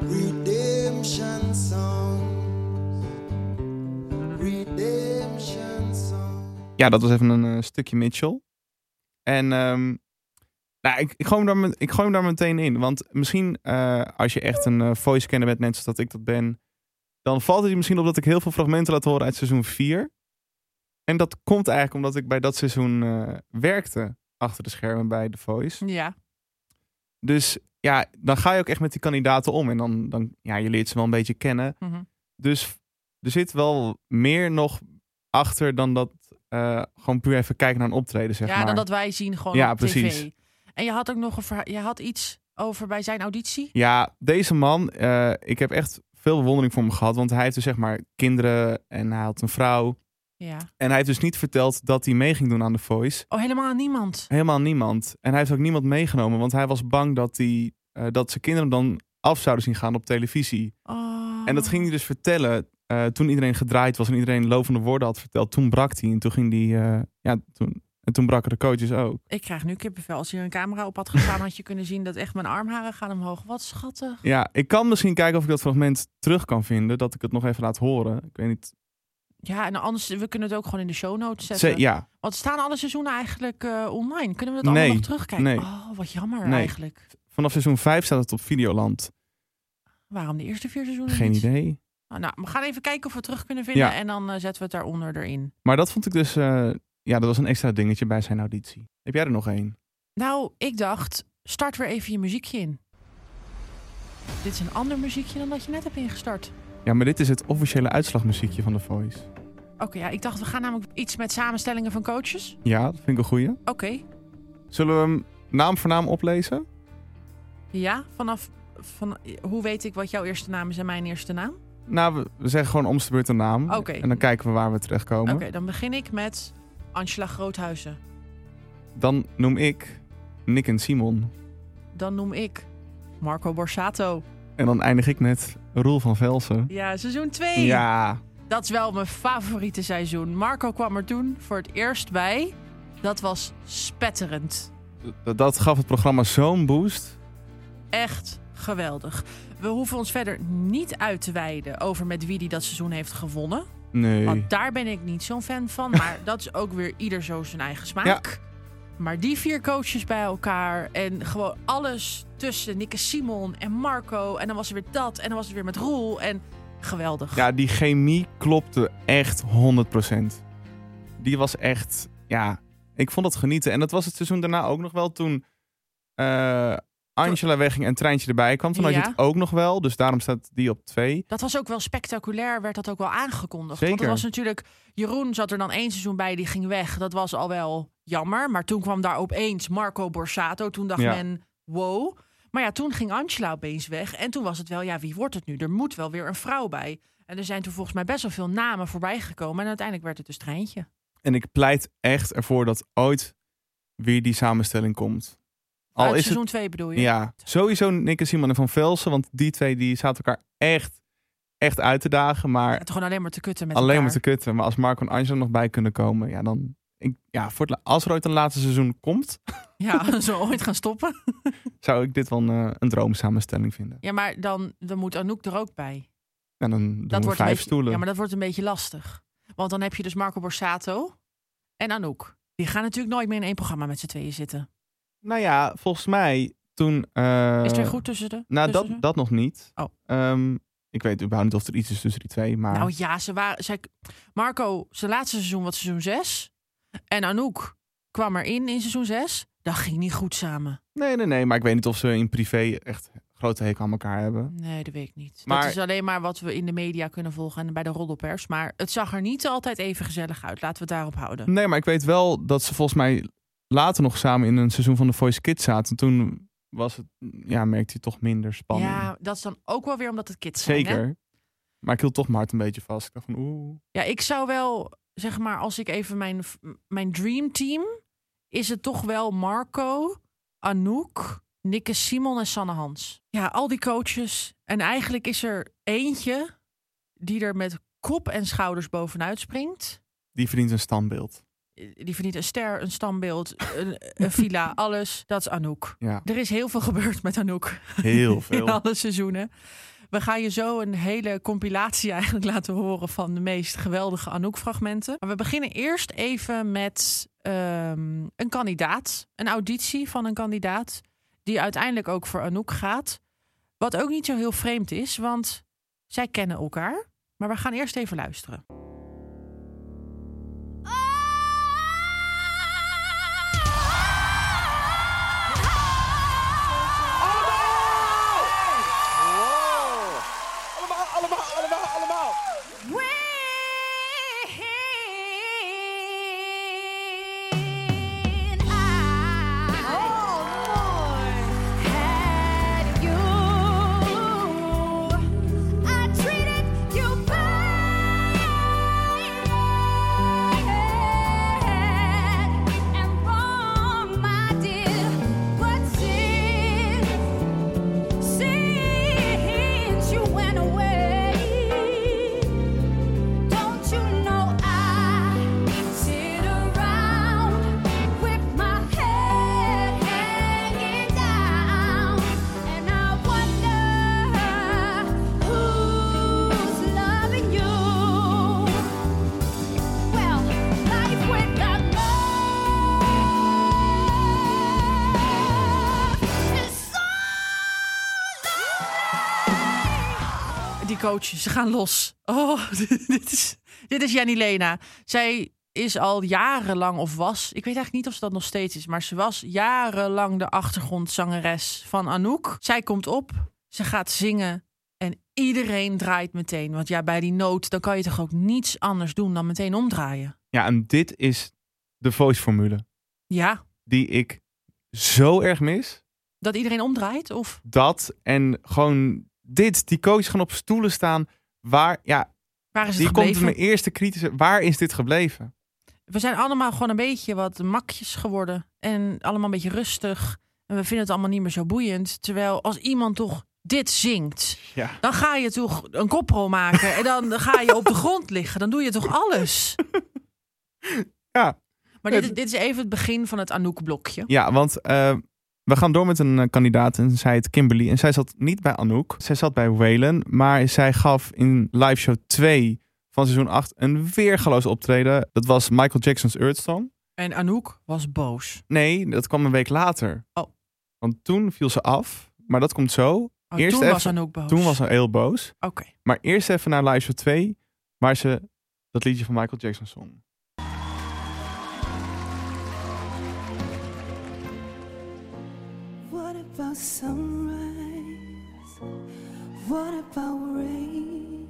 Speaker 8: redemption songs, redemption songs.
Speaker 1: Ja, dat was even een eh, stukje Mitchell. En ehm, nou, ik, ik, gooi hem daar, met- ik gooi hem daar meteen in. Want misschien eh, als je echt een eh, voice kenner bent, net zoals dat ik dat ben, dan valt het je misschien op dat ik heel veel fragmenten laat horen uit seizoen 4. En dat komt eigenlijk omdat ik bij dat seizoen eh, werkte achter de schermen bij The Voice.
Speaker 2: Ja.
Speaker 1: Dus ja, dan ga je ook echt met die kandidaten om. En dan, dan ja, je leert ze wel een beetje kennen.
Speaker 2: Mhm.
Speaker 1: Dus er zit wel meer nog achter dan dat eh, gewoon puur even kijken naar een optreden, zeg
Speaker 2: ja,
Speaker 1: maar.
Speaker 2: dan dat wij zien gewoon
Speaker 1: Ja,
Speaker 2: op tv.
Speaker 1: precies.
Speaker 2: En je had ook nog een verha- je had iets over bij zijn auditie.
Speaker 1: Ja, deze man, eh, ik heb echt veel bewondering voor hem gehad. Want hij heeft dus zeg maar kinderen en hij had een vrouw.
Speaker 2: Ja.
Speaker 1: En hij heeft dus niet verteld dat hij mee ging doen aan The Voice.
Speaker 2: Oh, helemaal aan niemand.
Speaker 1: Helemaal niemand. En hij heeft ook niemand meegenomen, want hij was bang dat, hij, eh, dat zijn kinderen hem dan af zouden zien gaan op televisie.
Speaker 2: Oh.
Speaker 1: En dat ging hij dus vertellen eh, toen iedereen gedraaid was en iedereen lovende woorden had verteld. Toen brak hij en toen ging die, eh, ja, toen, en toen braken de coaches ook.
Speaker 2: Ik krijg nu kippenvel. Als hier een camera op had gestaan, had je kunnen zien dat echt mijn armharen gaan omhoog. Wat schattig.
Speaker 1: Ja, ik kan misschien kijken of ik dat fragment terug kan vinden, dat ik het nog even laat horen. Ik weet niet.
Speaker 2: Ja, en anders, we kunnen het ook gewoon in de show notes zetten.
Speaker 1: Ze- ja,
Speaker 2: Want staan alle seizoenen eigenlijk eh, online? Kunnen we dat allemaal
Speaker 1: Nee,
Speaker 2: nog terugkijken?
Speaker 1: nee.
Speaker 2: Oh, wat jammer
Speaker 1: Nee.
Speaker 2: eigenlijk.
Speaker 1: vanaf seizoen 5 staat het op Videoland.
Speaker 2: Waarom de eerste vier seizoenen
Speaker 1: Geen
Speaker 2: niet?
Speaker 1: idee.
Speaker 2: Oh, nou, we gaan even kijken of we het terug kunnen vinden.
Speaker 1: Ja.
Speaker 2: En dan eh, zetten we het daaronder erin.
Speaker 1: Maar dat vond ik dus, eh, ja, dat was een extra dingetje bij zijn auditie. Heb jij er nog één?
Speaker 2: Nou, ik dacht, start weer even je muziekje in. Dit is een ander muziekje dan dat je net hebt ingestart.
Speaker 1: Ja, maar dit is het officiële uitslagmuziekje van The Voice.
Speaker 2: Oké, ja, ik dacht, we gaan namelijk iets met samenstellingen van coaches.
Speaker 1: Ja, dat vind ik een goeie.
Speaker 2: Oké,
Speaker 1: Zullen we hem naam voor naam oplezen?
Speaker 2: ja, vanaf... Van, hoe weet ik wat jouw eerste naam is en mijn eerste naam?
Speaker 1: Nou, we- we zeggen gewoon om de beurt een naam.
Speaker 2: Oké.
Speaker 1: En dan kijken we waar we
Speaker 2: Oké,
Speaker 1: terechtkomen.
Speaker 2: dan begin ik met Angela Groothuizen.
Speaker 1: Dan noem ik Nick en Simon.
Speaker 2: Dan noem ik Marco Borsato.
Speaker 1: En dan eindig ik met Roel van Velsen.
Speaker 2: Ja, seizoen 2.
Speaker 1: Ja,
Speaker 2: Dat is wel mijn favoriete seizoen. Marco kwam er toen voor het eerst bij. Dat was spetterend.
Speaker 1: d- dat gaf het programma zo'n boost.
Speaker 2: Echt geweldig. We hoeven ons verder niet uit te wijden over met wie die dat seizoen heeft gewonnen.
Speaker 1: Nee.
Speaker 2: Want daar ben ik niet zo'n fan van. Maar dat is ook weer ieder zo zijn eigen smaak. Maar die vier coaches bij elkaar en gewoon alles tussen Nikke Simon en Marco. En dan was er weer dat en dan was er weer met Roel. En geweldig.
Speaker 1: Ja, die chemie klopte echt 100%. Die was echt, ja, ik vond dat genieten. En dat was het seizoen daarna ook nog wel toen eh, Angela wegging en Treintje erbij kwam. Toen had
Speaker 2: Ja.
Speaker 1: je het ook nog wel, dus daarom staat die op twee.
Speaker 2: Dat was ook wel spectaculair, werd dat ook wel aangekondigd. Want het
Speaker 1: Zeker.
Speaker 2: was natuurlijk, Jeroen zat er dan één seizoen bij, die ging weg. Dat was al wel jammer. Maar toen kwam daar opeens Marco Borsato. Toen dacht
Speaker 1: Ja.
Speaker 2: men, wow. Maar ja, toen ging Angela opeens weg. En toen was het wel, ja, wie wordt het nu? Er moet wel weer een vrouw bij. En er zijn toen volgens mij best wel veel namen voorbij gekomen. En uiteindelijk werd het dus treintje.
Speaker 1: En ik pleit echt ervoor dat ooit weer die samenstelling komt. Al
Speaker 2: Uit
Speaker 1: is het
Speaker 2: seizoen 2 bedoel je?
Speaker 1: Ja, sowieso Nick en Simon en Van Velsen. Want die twee die zaten elkaar echt, echt uit te dagen. Maar
Speaker 2: Het gewoon alleen maar te kutten met
Speaker 1: alleen maar te
Speaker 2: elkaar.
Speaker 1: kutten. Maar als Marco en Angela nog bij kunnen komen, ja, dan. Ik, ja, voor het, la- als er ooit een laatste seizoen komt,
Speaker 2: Ja, zo ooit gaan stoppen.
Speaker 1: zou ik dit wel een, eh, een droomsamenstelling vinden.
Speaker 2: Ja, maar dan, dan moet Anouk er ook bij.
Speaker 1: En dan doen
Speaker 2: dat
Speaker 1: we
Speaker 2: wordt
Speaker 1: vijf
Speaker 2: een beetje,
Speaker 1: stoelen.
Speaker 2: Ja, maar dat wordt een beetje lastig. Want dan heb je dus Marco Borsato en Anouk. Die gaan natuurlijk nooit meer in één programma met z'n tweeën zitten.
Speaker 1: Nou ja, volgens mij toen. eh,
Speaker 2: Is er goed tussen de?
Speaker 1: Nou, dat,
Speaker 2: tussen ze?
Speaker 1: dat nog niet.
Speaker 2: Oh.
Speaker 1: Ehm, ik weet überhaupt niet of er iets is tussen die twee. Maar
Speaker 2: Nou ja, ze waren, zij, Marco, zijn laatste seizoen was seizoen 6. En Anouk kwam erin in seizoen 6. Dat ging niet goed samen.
Speaker 1: nee, nee, nee. Maar ik weet niet of ze in privé echt grote hekel aan elkaar hebben.
Speaker 2: Nee, dat weet ik niet.
Speaker 1: Maar-
Speaker 2: Dat is alleen maar wat we in de media kunnen volgen en bij de roddelpers. Maar het zag er niet altijd even gezellig uit. Laten we het daarop houden.
Speaker 1: Nee, maar ik weet wel dat ze volgens mij later nog samen in een seizoen van The Voice Kids zaten. Toen was het, ja, merkte hij toch minder spanning.
Speaker 2: Ja, dat is dan ook wel weer omdat het kids zijn. hè?
Speaker 1: Zeker. Maar ik hield toch mijn hart een beetje vast. Ik dacht van, oeh.
Speaker 2: Ja, ik zou wel, zeg maar, als ik even mijn, mijn dream team... is het toch wel Marco, Anouk, Nikke Simon en Sanne Hans. Ja, al die coaches. En eigenlijk is er eentje die er met kop en schouders bovenuit springt.
Speaker 1: Die verdient een standbeeld.
Speaker 2: Die verdient een ster, een standbeeld, een, een villa, alles. Dat is Anouk.
Speaker 1: Ja,
Speaker 2: Er is heel veel gebeurd met Anouk
Speaker 1: heel veel.
Speaker 2: in alle seizoenen. We gaan je zo een hele compilatie eigenlijk laten horen van de meest geweldige Anouk-fragmenten. Maar we beginnen eerst even met ehm, een kandidaat. Een auditie van een kandidaat die uiteindelijk ook voor Anouk gaat. Wat ook niet zo heel vreemd is, want zij kennen elkaar. Maar we gaan eerst even luisteren.
Speaker 5: Allemaal, allemaal, allemaal, allemaal.
Speaker 11: Since you went away, don't you know I sit around with my head hanging down, and I wonder who's loving you? Well, life without love is so lonely.
Speaker 2: Die coaches, ze gaan los. Oh, dit is, dit is Jenny Lena. Zij is al jarenlang, of was, ik weet eigenlijk niet of ze dat nog steeds is, maar ze was jarenlang de achtergrondzangeres van Anouk. Zij komt op, ze gaat zingen en iedereen draait meteen. Want ja, bij die noot, dan kan je toch ook niets anders doen dan meteen omdraaien.
Speaker 1: Ja, en dit is de Voice-formule.
Speaker 2: Ja,
Speaker 1: Die ik zo erg mis.
Speaker 2: dat iedereen omdraait? Of
Speaker 1: Dat en gewoon dit. Die coaches gaan op stoelen staan. Waar, ja,
Speaker 2: Waar is het
Speaker 1: die komt
Speaker 2: gebleven?
Speaker 1: mijn eerste kritische. Waar is dit gebleven?
Speaker 2: We zijn allemaal gewoon een beetje wat makjes geworden. En allemaal een beetje rustig. En we vinden het allemaal niet meer zo boeiend. Terwijl als iemand toch dit zingt,
Speaker 1: Ja.
Speaker 2: dan ga je toch een koprol maken. En dan ga je op de grond liggen. Dan doe je toch alles.
Speaker 1: Ja,
Speaker 2: Maar dit, is- dit is even het begin van het Anouk-blokje.
Speaker 1: ja want eh, we gaan door met een eh, kandidaat en zij heet Kimberly. En zij zat niet bij Anouk, zij zat bij Waylon. Maar zij gaf in live show 2 van seizoen 8 een weergeloos optreden. Dat was Michael Jackson's Earthstone.
Speaker 2: En Anouk was boos.
Speaker 1: Nee, dat kwam een week later.
Speaker 2: Oh.
Speaker 1: Want toen viel ze af, maar dat komt zo.
Speaker 2: Oh,
Speaker 1: Eerst
Speaker 2: toen was
Speaker 1: even-
Speaker 2: Anouk boos.
Speaker 1: Toen was ze heel boos.
Speaker 2: Oké.
Speaker 1: Maar eerst even naar live show 2, waar ze dat liedje van Michael Jackson zong.
Speaker 12: What about sunrise? What about rain?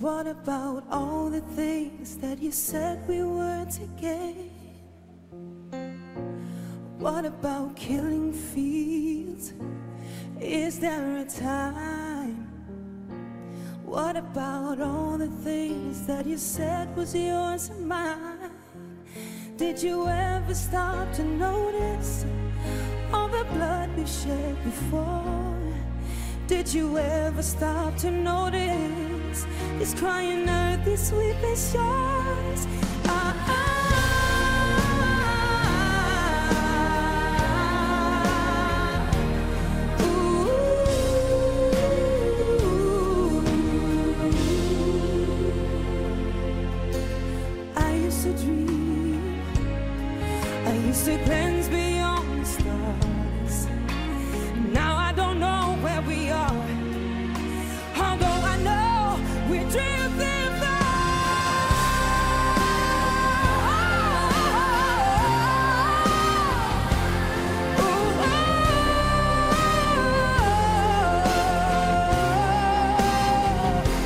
Speaker 12: What about all the things that you said we were again? What about killing fields? Is there a time? What about all the things that you said was yours and mine? Did you ever stop to notice all the blood we've shed before? Did you ever stop to notice this crying earth, these sweeping shores? Ah, ah, ah. Ooh. I used to dream I used to glance beyond the stars. Now I don't know where we are. Although I know we're drifting far. Ooh, oh,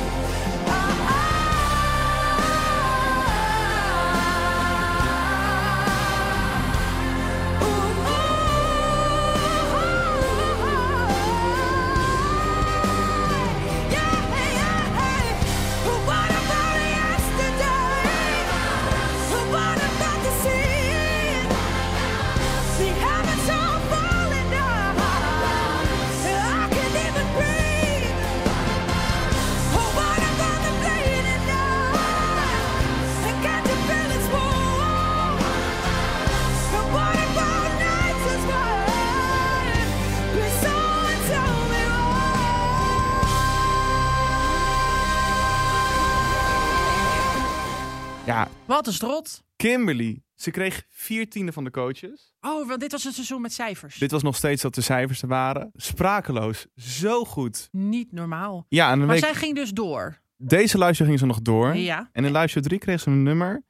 Speaker 1: Ja,
Speaker 2: Wat een strot.
Speaker 1: Kimberly. Ze kreeg viertiende van de coaches.
Speaker 2: Oh, want dit was een seizoen met cijfers.
Speaker 1: Dit was nog steeds dat de cijfers er waren. Sprakeloos. Zo goed.
Speaker 2: Niet normaal.
Speaker 1: Ja, en een
Speaker 2: Maar
Speaker 1: week,
Speaker 2: zij ging dus door.
Speaker 1: deze luister ging ze nog door.
Speaker 2: Ja.
Speaker 1: En in luister 3 kreeg ze een nummer.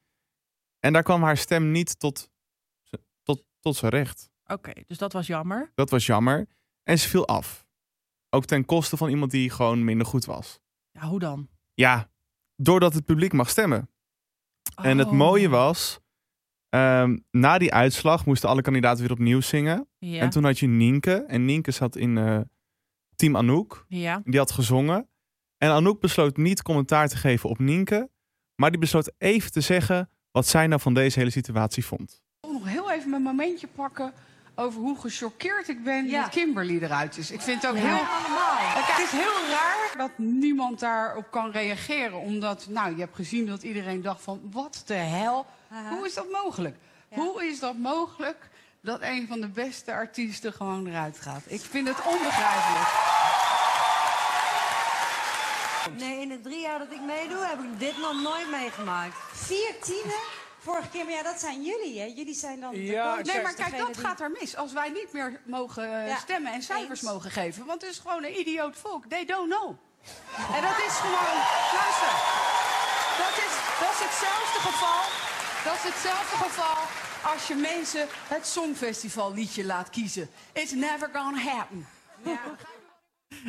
Speaker 1: En daar kwam haar stem niet tot, tot, tot zijn recht.
Speaker 2: Oké, dus dat was jammer.
Speaker 1: Dat was jammer. En ze viel af. Ook ten koste van iemand die gewoon minder goed was.
Speaker 2: Ja, hoe dan?
Speaker 1: Ja, doordat het publiek mag stemmen. En het
Speaker 2: Oh.
Speaker 1: mooie was, ehm, na die uitslag moesten alle kandidaten weer opnieuw zingen.
Speaker 2: Ja.
Speaker 1: En toen had je Nienke. En Nienke zat in eh, Team Anouk.
Speaker 2: ja.
Speaker 1: Die had gezongen. En Anouk besloot niet commentaar te geven op Nienke. Maar die besloot even te zeggen wat zij nou van deze hele situatie vond.
Speaker 13: wil Oh, nog heel even mijn momentje pakken over hoe gechoqueerd ik ben dat Kimberly eruit is. Ik vind het ook heel... Het is heel raar dat niemand daarop kan reageren. Omdat, nou, je hebt gezien dat iedereen dacht van, wat de hel? Hoe is dat mogelijk? Hoe is dat mogelijk dat een van de beste artiesten gewoon eruit gaat? Ik vind het onbegrijpelijk.
Speaker 4: Nee, in de drie jaar dat ik meedoe heb ik dit nog nooit meegemaakt.
Speaker 10: Vier tienen? Vorige keer, maar ja, dat zijn jullie, hè? Jullie zijn dan de coaches,
Speaker 13: nee, maar kijk,
Speaker 10: degene
Speaker 13: dat
Speaker 10: die-
Speaker 13: gaat er mis. Als wij niet meer mogen eh,
Speaker 10: Ja,
Speaker 13: stemmen en cijfers
Speaker 10: eens.
Speaker 13: mogen geven. Want het is gewoon een idioot volk. They don't know. En dat is gewoon... Luister. Dat is, dat is hetzelfde geval... Dat is hetzelfde geval als je mensen het Songfestival liedje laat kiezen. It's never gonna happen.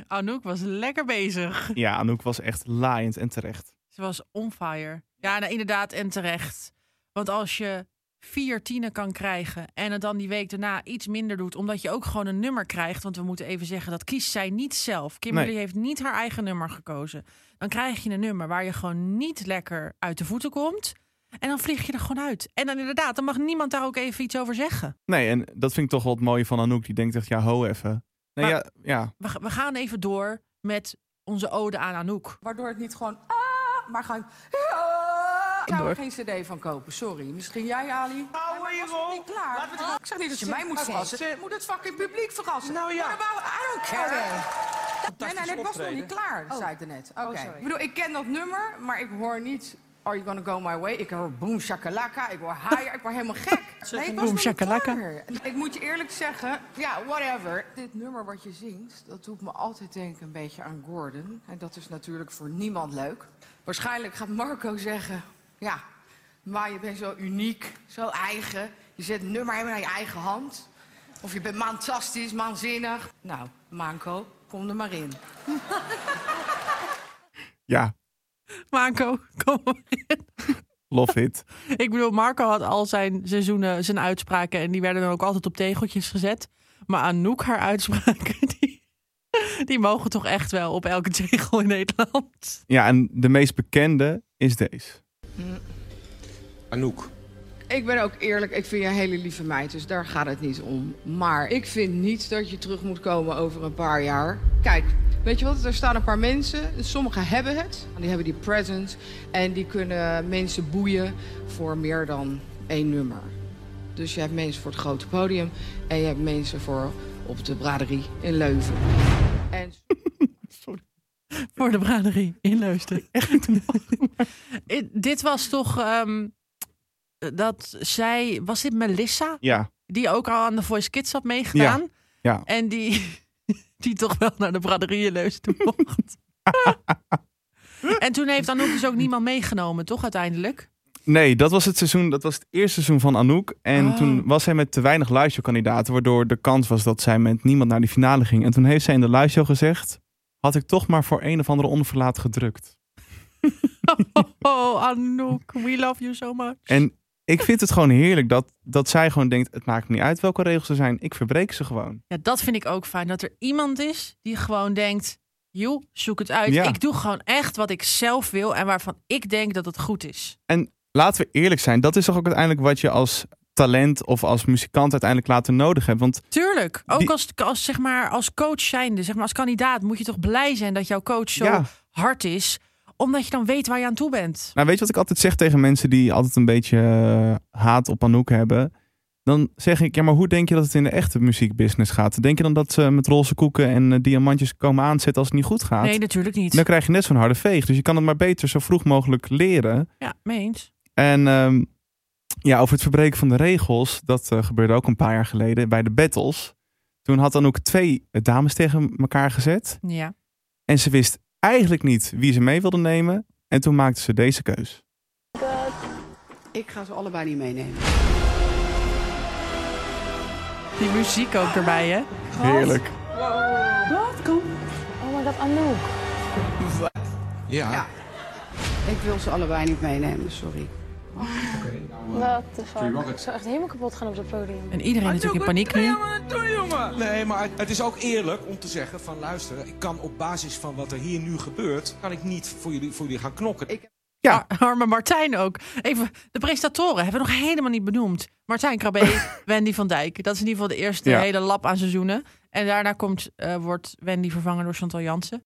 Speaker 2: Anouk was lekker bezig.
Speaker 1: Ja, Anouk was echt laaiend en terecht.
Speaker 2: Ze was on fire. Ja, nou, inderdaad en terecht. Want als je vier tienen kan krijgen en het dan die week daarna iets minder doet, omdat je ook gewoon een nummer krijgt. Want we moeten even zeggen, dat kiest zij niet zelf. Kimberly
Speaker 1: Nee.
Speaker 2: heeft niet haar eigen nummer gekozen. Dan krijg je een nummer waar je gewoon niet lekker uit de voeten komt. En dan vlieg je er gewoon uit. En dan inderdaad, dan mag niemand daar ook even iets over zeggen.
Speaker 1: Nee, en dat vind ik toch wel het mooie van Anouk. Die denkt echt, ja, ho even. Nee, ja, ja.
Speaker 2: We, ga- we gaan even door met onze ode aan Anouk.
Speaker 10: Waardoor het niet gewoon. Ah, maar gewoon. Ah, ik zou er
Speaker 2: Door.
Speaker 10: geen CD van kopen, sorry. Misschien jij, Ali. Hou je was niet klaar. ik zeg niet dat je mij moet
Speaker 11: Oké.
Speaker 10: verrassen. Ik moet het fucking publiek verrassen. Nou
Speaker 11: ja.
Speaker 10: I don't care. Nee, nee,
Speaker 11: Fantastisch
Speaker 10: nee, het was nog niet
Speaker 11: optreden.
Speaker 10: klaar,
Speaker 11: Oh.
Speaker 10: zei ik er net. Oké.
Speaker 11: Oh, sorry.
Speaker 10: ik bedoel, ik ken dat nummer, maar ik hoor niet. Are you gonna go my way? Ik hoor boom shakalaka, ik hoor higher, ik word helemaal gek. Nee, het was nog
Speaker 2: Boom
Speaker 10: niet
Speaker 2: shakalaka.
Speaker 10: klaar. Ik moet je eerlijk zeggen, ja, whatever. Dit nummer wat je zingt, dat doet me altijd denken een beetje aan Gordon. En dat is natuurlijk voor niemand leuk. Waarschijnlijk gaat Marco zeggen, ja, maar je bent zo uniek, zo eigen. Je zet het nummer helemaal naar je eigen hand. Of je bent fantastisch, manzinnig. Nou, Manco, kom er maar in.
Speaker 1: ja,
Speaker 2: Marco, kom maar in.
Speaker 1: love it.
Speaker 2: Ik bedoel, Marco had al zijn seizoenen, zijn uitspraken... en die werden dan ook altijd op tegeltjes gezet. Maar Anouk, haar uitspraken, die, die mogen toch echt wel op elke tegel in Nederland.
Speaker 1: Ja, en de meest bekende is deze. Anouk.
Speaker 10: Ik ben ook eerlijk, ik vind je een hele lieve meid, dus daar gaat het niet om. Maar ik vind niet dat je terug moet komen over een paar jaar. Kijk, weet je wat? Er staan een paar mensen. Sommigen hebben het. Die hebben die presence. En die kunnen mensen boeien voor meer dan één nummer. Dus je hebt mensen voor het grote podium. En je hebt mensen voor op de braderie in Leuven. En
Speaker 2: Voor de braderie in Leusden. I- dit was toch ehm, dat zij... Was dit Melissa?
Speaker 1: Ja,
Speaker 2: Die ook al aan de Voice Kids had meegedaan.
Speaker 1: ja.
Speaker 2: En die, die toch wel naar de braderieën Leusden mocht. en toen heeft Anouk dus ook niemand meegenomen, toch uiteindelijk?
Speaker 1: Nee, dat was het seizoen. Dat was het eerste seizoen van Anouk. En toen was zij met te weinig luisterkandidaten, waardoor de kans was dat zij met niemand naar die finale ging. En toen heeft zij in de luister gezegd: had ik toch maar voor een of andere onverlaat gedrukt.
Speaker 2: Oh, Anouk, we love you so much.
Speaker 1: En ik vind het gewoon heerlijk dat, dat zij gewoon denkt: het maakt me niet uit welke regels er zijn, ik verbreek ze gewoon.
Speaker 2: Ja, dat vind ik ook fijn. Dat er iemand is die gewoon denkt, joh, zoek het uit.
Speaker 1: Ja.
Speaker 2: Ik doe gewoon echt wat ik zelf wil en waarvan ik denk dat het goed is.
Speaker 1: En laten we eerlijk zijn, dat is toch ook uiteindelijk wat je als talent of als muzikant uiteindelijk later nodig hebt. Want
Speaker 2: Tuurlijk. Ook
Speaker 1: Die-
Speaker 2: als, als, zeg maar, als coach zijnde, zeg maar, als kandidaat, moet je toch blij zijn dat jouw coach zo
Speaker 1: Ja.
Speaker 2: hard is. Omdat je dan weet waar je aan toe bent.
Speaker 1: Nou, weet je wat ik altijd zeg tegen mensen die altijd een beetje eh, haat op Anouk hebben? Dan zeg ik, ja, maar hoe denk je dat het in de echte muziekbusiness gaat? Denk je dan dat ze met roze koeken en eh, diamantjes komen aanzetten als het niet goed gaat?
Speaker 2: Nee, natuurlijk niet.
Speaker 1: Dan krijg je net zo'n harde veeg. Dus je kan het maar beter zo vroeg mogelijk leren.
Speaker 2: Ja, mee eens.
Speaker 1: En ehm, ja, over het verbreken van de regels, dat eh, gebeurde ook een paar jaar geleden bij de battles. Toen had Anouk twee eh, dames tegen elkaar gezet.
Speaker 2: Ja.
Speaker 1: En ze wist eigenlijk niet wie ze mee wilde nemen. En toen maakte ze deze keus.
Speaker 10: ik ga ze allebei niet meenemen.
Speaker 2: Die muziek ook erbij, hè?
Speaker 1: Heerlijk.
Speaker 10: Wat? Kom. Oh my god, Anouk.
Speaker 11: Ja.
Speaker 10: Ik wil ze allebei niet meenemen, sorry.
Speaker 14: What the
Speaker 10: Free
Speaker 14: fuck?
Speaker 10: Rocket.
Speaker 14: Ik zou echt helemaal kapot gaan op dat podium.
Speaker 2: En iedereen natuurlijk in paniek nu.
Speaker 15: Nee, maar het is ook eerlijk om te zeggen van luister, ik kan op basis van wat er hier nu gebeurt, kan ik niet voor jullie, voor jullie gaan knokken.
Speaker 2: Ja. Arme Martijn ook. Even, de presentatoren hebben we nog helemaal niet benoemd. Martijn Krabbe, Wendy van Dijk. Dat is in ieder geval de eerste
Speaker 1: Ja.
Speaker 2: hele lap aan seizoenen. En daarna komt, eh, wordt Wendy vervangen door Chantal Jansen.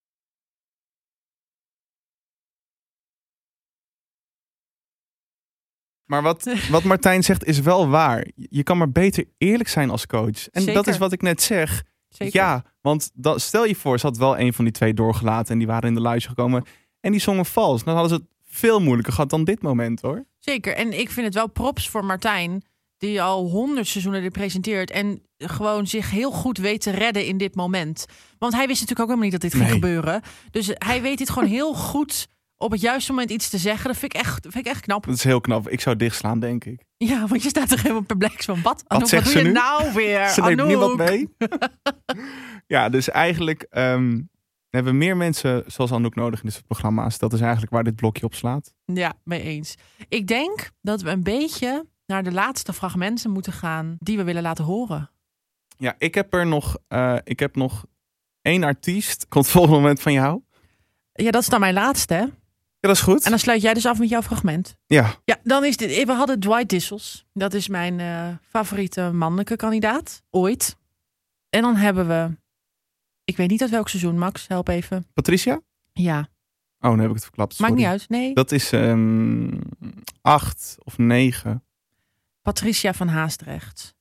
Speaker 1: Maar wat, wat Martijn zegt is wel waar. Je kan maar beter eerlijk zijn als coach. En dat
Speaker 2: Zeker.
Speaker 1: is wat ik net zeg.
Speaker 2: Zeker.
Speaker 1: Ja, want dan, stel je voor, ze had wel een van die twee doorgelaten en die waren in de luister gekomen. En die zongen vals. Dan hadden ze het veel moeilijker gehad dan dit moment hoor.
Speaker 2: Zeker. En ik vind het wel props voor Martijn. Die al honderd seizoenen dit presenteert. En gewoon zich heel goed weet te redden in dit moment. Want hij wist natuurlijk ook helemaal niet dat dit ging gebeuren. Dus hij weet dit gewoon heel goed op het juiste moment iets te zeggen. Dat vind ik echt, vind ik echt knap.
Speaker 1: Dat is heel knap. Ik zou dichtslaan, denk ik.
Speaker 2: Ja, want je staat er helemaal perplex van. Wat, Anouk, wat
Speaker 1: zegt
Speaker 2: doe
Speaker 1: ze
Speaker 2: je
Speaker 1: nu?
Speaker 2: nou weer?
Speaker 1: Ze neemt niemand
Speaker 2: Anouk?
Speaker 1: mee. ja, dus eigenlijk ehm, hebben we meer mensen zoals Anouk nodig in dit soort programma's. Dat is eigenlijk waar dit blokje op slaat.
Speaker 2: Ja, mee eens. Ik denk dat we een beetje naar de laatste fragmenten moeten gaan die we willen laten horen.
Speaker 1: Ja, ik heb er nog, eh, ik heb nog één artiest. Komt het volgende moment van jou?
Speaker 2: Ja, dat is dan mijn laatste, hè?
Speaker 1: Ja, dat is goed.
Speaker 2: En dan sluit jij dus af met jouw fragment.
Speaker 1: Ja.
Speaker 2: Ja, dan is dit. We hadden Dwight Dissels. Dat is mijn eh, favoriete mannelijke kandidaat ooit. En dan hebben we. Ik weet niet uit welk seizoen, Max. Help even.
Speaker 1: Patricia?
Speaker 2: Ja,
Speaker 1: Oh, nu heb ik het verklapt.
Speaker 2: maakt
Speaker 1: sorry.
Speaker 2: niet uit. Nee.
Speaker 1: Dat is ehm, acht of negen.
Speaker 2: Patricia van Haastrecht.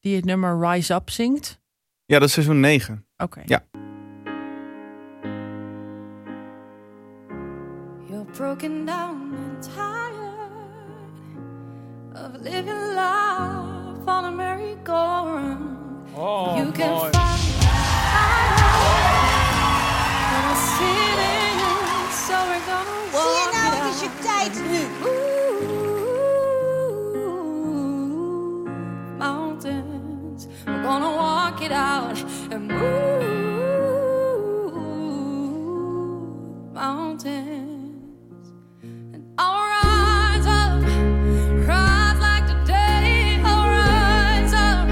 Speaker 2: Die het nummer Rise Up zingt.
Speaker 1: Ja, dat is seizoen negen.
Speaker 2: Oké.
Speaker 1: Ja.
Speaker 8: You're broken down and tired of living life on a merry-go-round.
Speaker 16: Oh,
Speaker 8: you can
Speaker 16: mooi.
Speaker 8: find in the city, so we're gonna walk.
Speaker 17: Zie je nou,
Speaker 8: it
Speaker 17: het is je
Speaker 8: out.
Speaker 17: tijd nu.
Speaker 8: Ooh, mountains, we're gonna walk it out and move mountains. And I'll rise up, rise like the day. I'll rise up,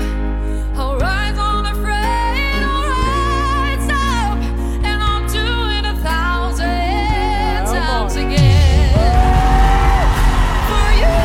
Speaker 8: I'll rise unafraid. I'll rise up, and I'm doing a thousand times again for you.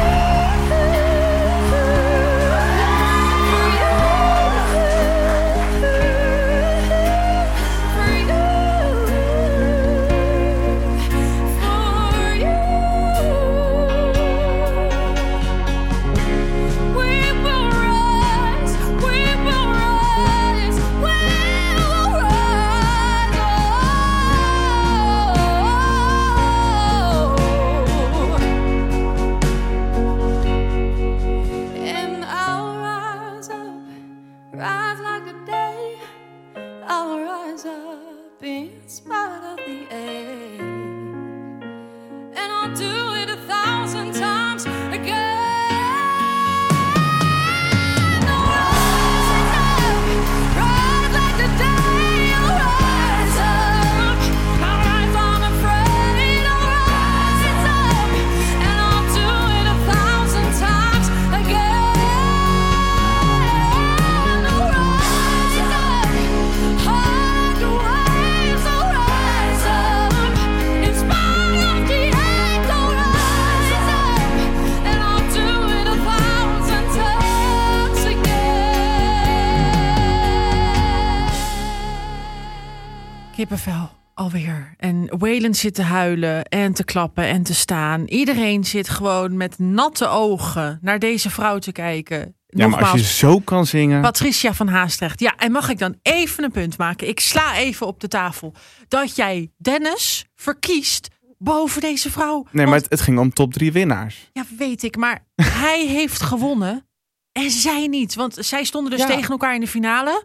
Speaker 8: And I'll rise up, rise like the day. I'll rise up in spite of the ache. And I'll do it a thousand times again. I'll rise up, rise like the day. I'll rise up. I'll rise unafraid. I'll rise up. And I'll do it a thousand times again. I'll rise up. Hard waves. I'll rise up. In spite of the ache. I'll rise up. And I'll do it a thousand times again.
Speaker 2: Kippenvel. Alweer. En Waylon zit te huilen en te klappen en te staan. Iedereen zit gewoon met natte ogen naar deze vrouw te kijken.
Speaker 1: Ja, maar als je
Speaker 2: Nogmaals,
Speaker 1: zo kan zingen.
Speaker 2: Patricia van Haastrecht. Ja, en mag ik dan even een punt maken? Ik sla even op de tafel. Dat jij Dennis verkiest boven deze vrouw.
Speaker 1: Nee, maar het, het ging om top drie winnaars.
Speaker 2: Ja, weet ik. Maar hij heeft gewonnen en zij niet. Want zij stonden dus
Speaker 1: Ja.
Speaker 2: tegen elkaar in de finale.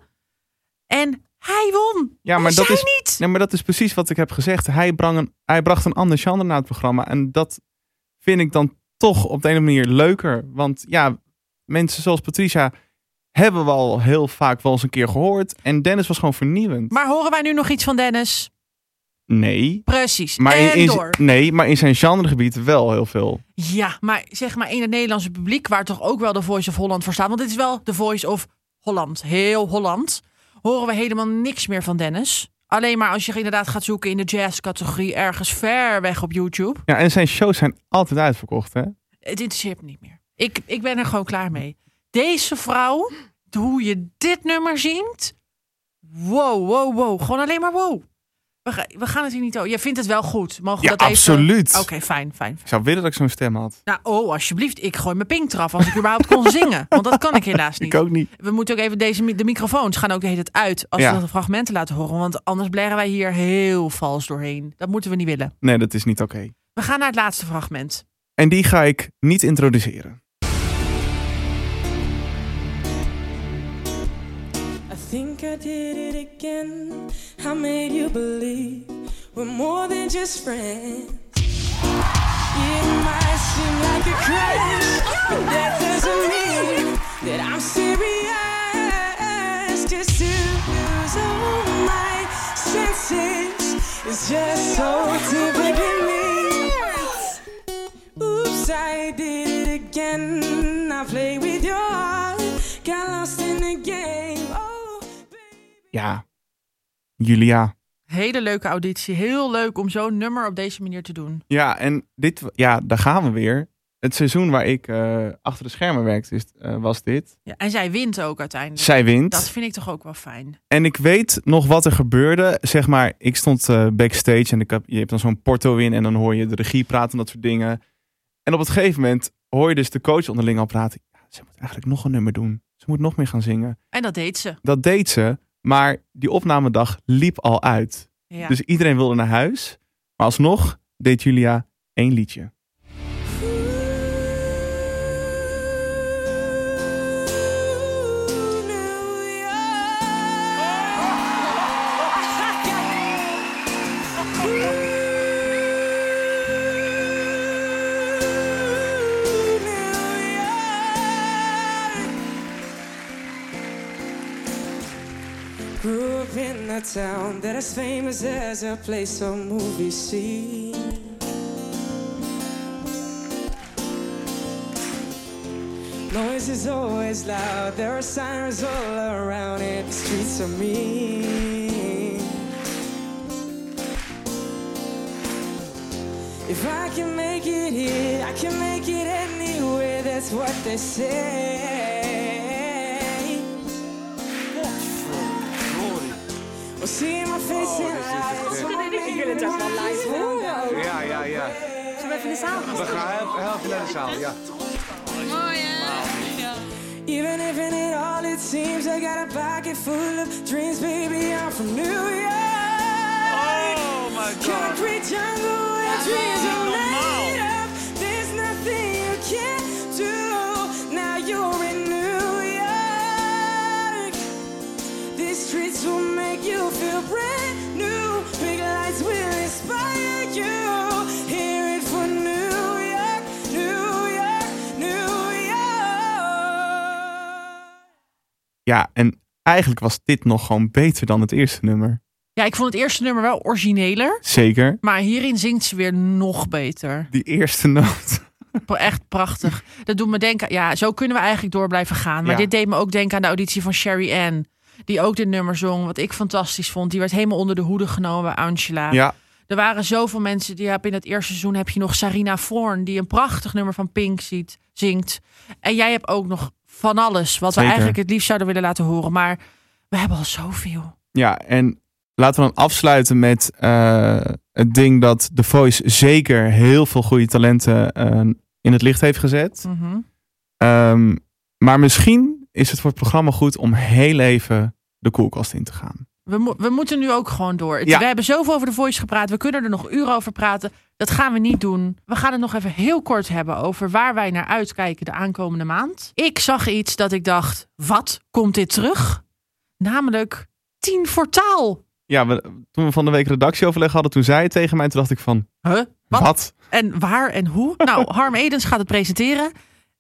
Speaker 2: En hij won.
Speaker 1: Ja, maar
Speaker 2: en
Speaker 1: dat
Speaker 2: zij
Speaker 1: is,
Speaker 2: niet.
Speaker 1: Nee, maar dat is precies wat ik heb gezegd. Hij, brang een, hij bracht een ander genre naar het programma. En dat vind ik dan toch op de ene manier leuker. Want ja, mensen zoals Patricia hebben we al heel vaak wel eens een keer gehoord. En Dennis was gewoon vernieuwend.
Speaker 2: Maar horen wij nu nog iets van Dennis?
Speaker 1: Nee.
Speaker 2: Precies.
Speaker 1: Maar in,
Speaker 2: en
Speaker 1: in z-
Speaker 2: door.
Speaker 1: nee, maar in zijn genregebied wel heel veel.
Speaker 2: Ja, maar zeg maar in het Nederlandse publiek, waar toch ook wel de Voice of Holland voor staat. Want dit is wel de Voice of Holland. Heel Holland. Horen we helemaal niks meer van Dennis. Alleen maar als je inderdaad gaat zoeken in de jazzcategorie ergens ver weg op YouTube.
Speaker 1: Ja, en zijn shows zijn altijd uitverkocht, hè?
Speaker 2: Het interesseert me niet meer. Ik, ik ben er gewoon klaar mee. Deze vrouw, hoe je dit nummer zingt. Wow, wow, wow. Gewoon alleen maar wow. We, ga- we gaan het hier niet over. Je vindt het wel goed. Mogen we
Speaker 1: Ja,
Speaker 2: dat even-
Speaker 1: absoluut.
Speaker 2: Oké, fijn, fijn.
Speaker 1: Ik zou willen dat ik zo'n stem had.
Speaker 2: Nou, oh, alsjeblieft. Ik gooi mijn pink eraf als ik überhaupt kon zingen. Want dat kan ik helaas niet.
Speaker 1: Ik ook niet.
Speaker 2: We moeten ook even deze... mi- De microfoons gaan ook de hele tijd uit als
Speaker 1: Ja.
Speaker 2: we de fragmenten laten horen. Want anders blerren wij hier heel vals doorheen. Dat moeten we niet willen.
Speaker 1: Nee, dat is niet oké.
Speaker 2: We gaan naar het laatste fragment.
Speaker 1: En die ga ik niet introduceren.
Speaker 18: I think I did it again. I made you believe we're more than just friends. It might seem like a crash, but that doesn't mean that I'm serious. Just to lose all my senses is just so typically me. Oops, I did it again. again. I play with your heart, got lost in the game. Oh,
Speaker 1: Ja, Julia.
Speaker 2: Hele leuke auditie. Heel leuk om zo'n nummer op deze manier te doen.
Speaker 1: Ja, en dit, ja, daar gaan we weer. Het seizoen waar ik eh, achter de schermen werkte, is, eh, was dit.
Speaker 2: Ja, en zij wint ook uiteindelijk.
Speaker 1: Zij wint.
Speaker 2: Dat vind ik toch ook wel fijn.
Speaker 1: En ik weet nog wat er gebeurde. Zeg maar, ik stond eh, backstage en ik heb, je hebt dan zo'n porto in en dan hoor je de regie praten en dat soort dingen. En op het gegeven moment hoor je dus de coach onderling al praten. Ja, ze moet eigenlijk nog een nummer doen. Ze moet nog meer gaan zingen.
Speaker 2: En dat deed ze.
Speaker 1: Dat deed ze, maar die opnamedag liep al uit.
Speaker 2: Ja.
Speaker 1: Dus iedereen wilde naar huis. Maar alsnog deed Julia één liedje.
Speaker 18: Grew up in a town that is famous as a place of movie scene. Noise is always loud, there are sirens all around it, the streets are mean. If I can make it here, I can make it anywhere, that's what they say. Well, see my face in eyes.
Speaker 13: Jullie het ook wel live horen.
Speaker 9: Ja, ja, ja.
Speaker 13: Zullen we even in de zaal gaan
Speaker 9: We
Speaker 13: staan?
Speaker 9: gaan heel- heel even naar de zaal, ja.
Speaker 18: Even if in it all it seems I got a pocket full of dreams, baby, I'm from New York. Oh my god. Concrete jungle where dreams are made up. There's nothing you can't do. Now you're in New York. These streets will make you feel brand new. Big lights will inspire you. Hear it for New York, New York, New York.
Speaker 1: Ja, en eigenlijk was dit nog gewoon beter dan het eerste nummer.
Speaker 2: Ja, ik vond het eerste nummer wel origineler.
Speaker 1: Zeker.
Speaker 2: Maar hierin zingt ze weer nog beter.
Speaker 1: Die eerste noot.
Speaker 2: Pra- Echt prachtig. Dat doet me denken. Ja, zo kunnen we eigenlijk door blijven gaan. Maar
Speaker 1: Ja.
Speaker 2: dit deed me ook denken aan de auditie van Sherry Ann. Die ook dit nummer zong. Wat ik fantastisch vond. Die werd helemaal onder de hoede genomen bij Angela.
Speaker 1: Ja.
Speaker 2: Er waren zoveel mensen die heb in het eerste seizoen heb je nog Sarina Vorn, die een prachtig nummer van Pink ziet, zingt. En jij hebt ook nog van alles, wat
Speaker 1: Zeker.
Speaker 2: we eigenlijk het liefst zouden willen laten horen. Maar we hebben al zoveel.
Speaker 1: Ja, en laten we dan afsluiten met eh, het ding dat The Voice zeker heel veel goede talenten eh, in het licht heeft gezet.
Speaker 2: Mhm.
Speaker 1: Ehm, maar misschien is het voor het programma goed om heel even de koelkast in te gaan.
Speaker 2: We, mo- we moeten nu ook gewoon door. Het-
Speaker 1: Ja.
Speaker 2: We hebben zoveel over de Voice gepraat. We kunnen er nog uren over praten. Dat gaan we niet doen. We gaan het nog even heel kort hebben over waar wij naar uitkijken de aankomende maand. Ik zag iets dat ik dacht: wat komt dit terug? Namelijk 10 voor taal.
Speaker 1: Ja, we- toen we van de week redactieoverleg hadden, toen zei het tegen mij, toen dacht ik van,
Speaker 2: Huh? Wat?
Speaker 1: Wat?
Speaker 2: En waar en hoe? Nou, Harm Edens gaat het presenteren.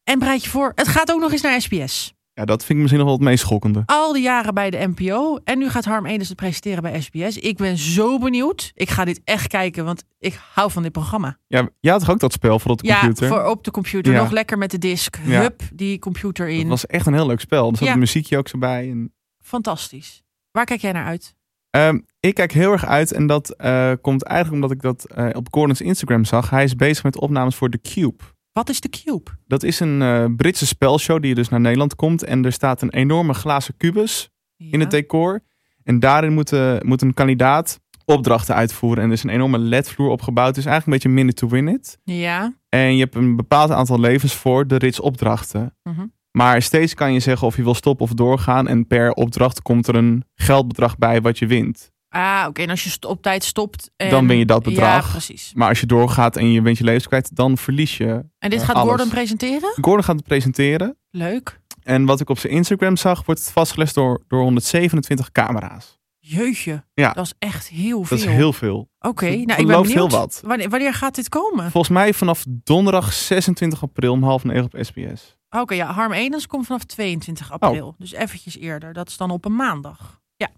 Speaker 2: En bereid je voor, het gaat ook nog eens naar SBS.
Speaker 1: ja, dat vind ik misschien nog wel het meest schokkende.
Speaker 2: Al die jaren bij de NPO. En nu gaat Harm Edens het presenteren bij SBS. Ik ben zo benieuwd. Ik ga dit echt kijken, want ik hou van dit programma.
Speaker 1: Ja, jij had toch ook dat spel voor op de computer?
Speaker 2: Ja, voor op de computer.
Speaker 1: Ja.
Speaker 2: Nog lekker met de disk.
Speaker 1: Ja.
Speaker 2: Hup, die computer in.
Speaker 1: Het was echt een heel leuk spel. Er zat
Speaker 2: Ja.
Speaker 1: een muziekje ook zo bij. En,
Speaker 2: Fantastisch. Waar kijk jij naar uit?
Speaker 1: Ehm, ik kijk heel erg uit en dat eh, komt eigenlijk omdat ik dat eh, op Gordon's Instagram zag. Hij is bezig met opnames voor The Cube.
Speaker 2: Wat is de Cube?
Speaker 1: Dat is een eh, Britse spelshow die dus naar Nederland komt. En er staat een enorme glazen kubus in het decor. En daarin moet, eh, moet een kandidaat opdrachten uitvoeren. En er is een enorme ledvloer opgebouwd. Het is eigenlijk een beetje minute to win it.
Speaker 2: Ja.
Speaker 1: En je hebt een bepaald aantal levens voor de rits opdrachten.
Speaker 2: Mhm.
Speaker 1: Maar steeds kan je zeggen of je wil stoppen of doorgaan. En per opdracht komt er een geldbedrag bij wat je wint.
Speaker 2: Ah, oké. En als je st- op tijd stopt... en-
Speaker 1: Dan win je dat bedrag.
Speaker 2: Ja, precies.
Speaker 1: Maar als je doorgaat en je bent je levens kwijt, dan verlies je.
Speaker 2: En dit
Speaker 1: eh,
Speaker 2: gaat
Speaker 1: alles.
Speaker 2: Gordon presenteren?
Speaker 1: Gordon gaat het presenteren.
Speaker 2: Leuk.
Speaker 1: En wat ik op zijn Instagram zag, wordt het vastgelegd door, door 127 camera's.
Speaker 2: Jeetje.
Speaker 1: Ja.
Speaker 2: Dat is echt heel veel.
Speaker 1: Dat is heel veel.
Speaker 2: Oké,
Speaker 1: Dus het
Speaker 2: nou ik ben
Speaker 1: belooft
Speaker 2: benieuwd.
Speaker 1: heel wat.
Speaker 2: Wanneer, wanneer gaat dit komen?
Speaker 1: Volgens mij vanaf donderdag 26 april om half negen op SBS.
Speaker 2: Oké, ja,
Speaker 1: Oh.
Speaker 2: Harm Edens komt vanaf 22 april. Dus eventjes eerder. Dat is dan op een maandag. Ja.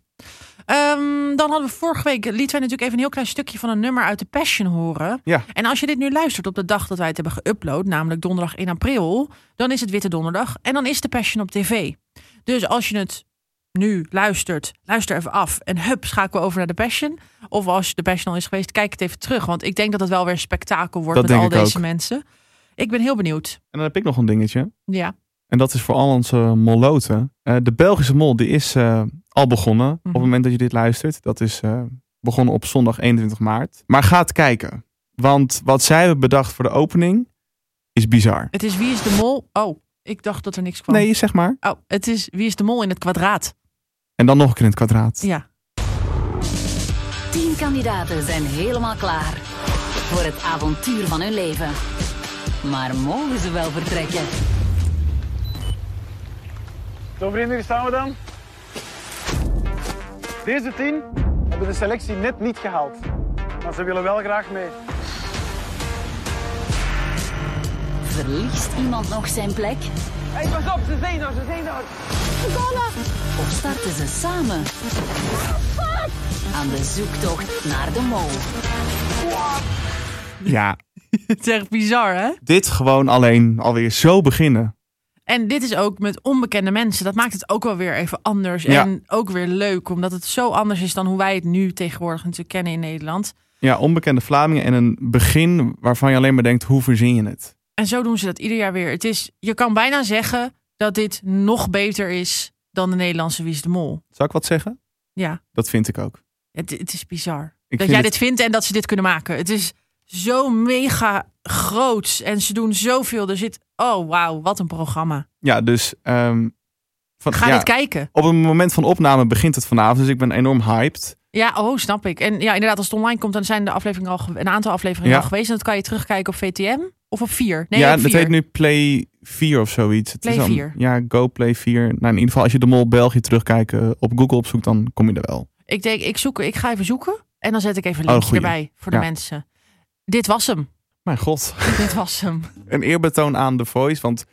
Speaker 2: Ehm, dan hadden we vorige week, lieten wij natuurlijk even een heel klein stukje van een nummer uit de Passion horen.
Speaker 1: Ja.
Speaker 2: En als je dit nu luistert op de dag dat wij het hebben geüpload, namelijk donderdag in april, dan is het Witte Donderdag en dan is de Passion op tv. Dus als je het nu luistert, luister even af en hup, schakelen we over naar de Passion. Of als je de Passion al is geweest, kijk het even terug, want ik denk dat het wel weer een spektakel wordt
Speaker 1: Dat
Speaker 2: met al
Speaker 1: denk ik
Speaker 2: deze
Speaker 1: ook.
Speaker 2: mensen. Ik ben heel benieuwd.
Speaker 1: En dan heb ik nog een dingetje.
Speaker 2: Ja.
Speaker 1: En dat is voor al onze molloten. Eh, de Belgische mol die is eh, al begonnen.
Speaker 2: Mhm.
Speaker 1: Op het moment dat je dit luistert. Dat is eh, begonnen op zondag 21 maart. Maar ga het kijken. Want wat zij hebben bedacht voor de opening is bizar.
Speaker 2: Het is Wie is de Mol? Oh, ik dacht dat er niks kwam.
Speaker 1: Nee, zeg maar.
Speaker 2: Oh, het is Wie is de Mol in het kwadraat.
Speaker 1: En dan nog een keer in het kwadraat.
Speaker 2: Ja.
Speaker 19: Tien kandidaten zijn helemaal klaar voor het avontuur van hun leven. Maar mogen ze wel vertrekken?
Speaker 9: Zo vrienden, hier staan we dan. Deze tien hebben de selectie net niet gehaald. Maar ze willen wel graag mee.
Speaker 19: Verliest iemand nog zijn plek?
Speaker 20: Hey, pas op, ze zijn er, ze zijn er. Ze komen.
Speaker 19: Of starten ze samen aan de zoektocht naar de mol?
Speaker 1: Ja,
Speaker 2: het is echt bizar, hè?
Speaker 1: dit gewoon alleen alweer zo beginnen.
Speaker 2: En dit is ook met onbekende mensen. Dat maakt het ook wel weer even anders.
Speaker 1: Ja.
Speaker 2: En ook weer leuk, omdat het zo anders is dan hoe wij het nu tegenwoordig natuurlijk kennen in Nederland.
Speaker 1: Ja, onbekende Vlamingen en een begin waarvan je alleen maar denkt, hoe verzin je het?
Speaker 2: En zo doen ze dat ieder jaar weer. Het is, je kan bijna zeggen dat dit nog beter is dan de Nederlandse Wie is de Mol.
Speaker 1: Zal ik wat zeggen?
Speaker 2: Ja,
Speaker 1: Dat vind ik ook.
Speaker 2: het, het is bizar.
Speaker 1: Ik
Speaker 2: dat
Speaker 1: vind
Speaker 2: jij
Speaker 1: het-
Speaker 2: dit vindt en dat ze dit kunnen maken. Het is zo mega groots en ze doen zoveel. Er zit, oh wauw, wat een programma.
Speaker 1: Ja, dus... ehm, van,
Speaker 2: Ga
Speaker 1: ja,
Speaker 2: dit kijken.
Speaker 1: Op het moment van opname begint het vanavond, dus ik ben enorm hyped.
Speaker 2: Ja, oh, snap ik. En ja, inderdaad, als het online komt, dan zijn de afleveringen al ge- een aantal afleveringen
Speaker 1: Ja.
Speaker 2: al geweest. En dat kan je terugkijken op VTM of op 4. Nee,
Speaker 1: ja,
Speaker 2: op
Speaker 1: het
Speaker 2: 4.
Speaker 1: heet nu Play 4 of zoiets. Het
Speaker 2: Play
Speaker 1: is dan-
Speaker 2: 4.
Speaker 1: Ja, Go Play 4. Nou, in ieder geval, als je de Mol België terugkijkt eh, op Google opzoekt, dan kom je er wel.
Speaker 2: Ik denk, ik, zoek, ik ga even zoeken en dan zet ik even een
Speaker 1: Oh,
Speaker 2: linkje
Speaker 1: goeie.
Speaker 2: erbij voor de
Speaker 1: Ja.
Speaker 2: mensen. Dit was hem.
Speaker 1: Mijn god.
Speaker 2: Dit was hem.
Speaker 1: Een eerbetoon aan The Voice, want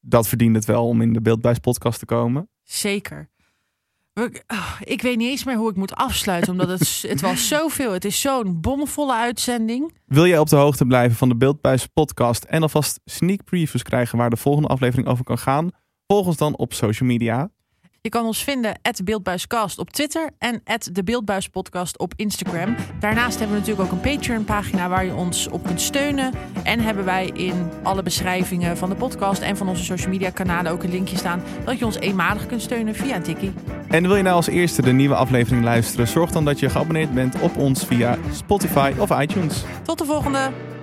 Speaker 1: dat verdient het wel om in de Beeldbuis podcast te komen.
Speaker 2: Zeker. We- ah, ik weet niet eens meer hoe ik moet afsluiten, omdat het, s- het was zoveel. Het is zo'n bomvolle uitzending.
Speaker 1: Wil jij op de hoogte blijven van de Beeldbuis podcast en alvast sneak previews krijgen waar de volgende aflevering over kan gaan? Volg ons dan op social media.
Speaker 2: Je kan ons vinden at Beeldbuiscast op Twitter en at de Beeldbuispodcast op Instagram. Daarnaast hebben we natuurlijk ook een Patreon-pagina waar je ons op kunt steunen. En hebben wij in alle beschrijvingen van de podcast en van onze social media-kanalen ook een linkje staan dat je ons eenmalig kunt steunen via een tikkie.
Speaker 1: En wil je nou als eerste de nieuwe aflevering luisteren? Zorg dan dat je geabonneerd bent op ons via Spotify of iTunes.
Speaker 2: Tot de volgende!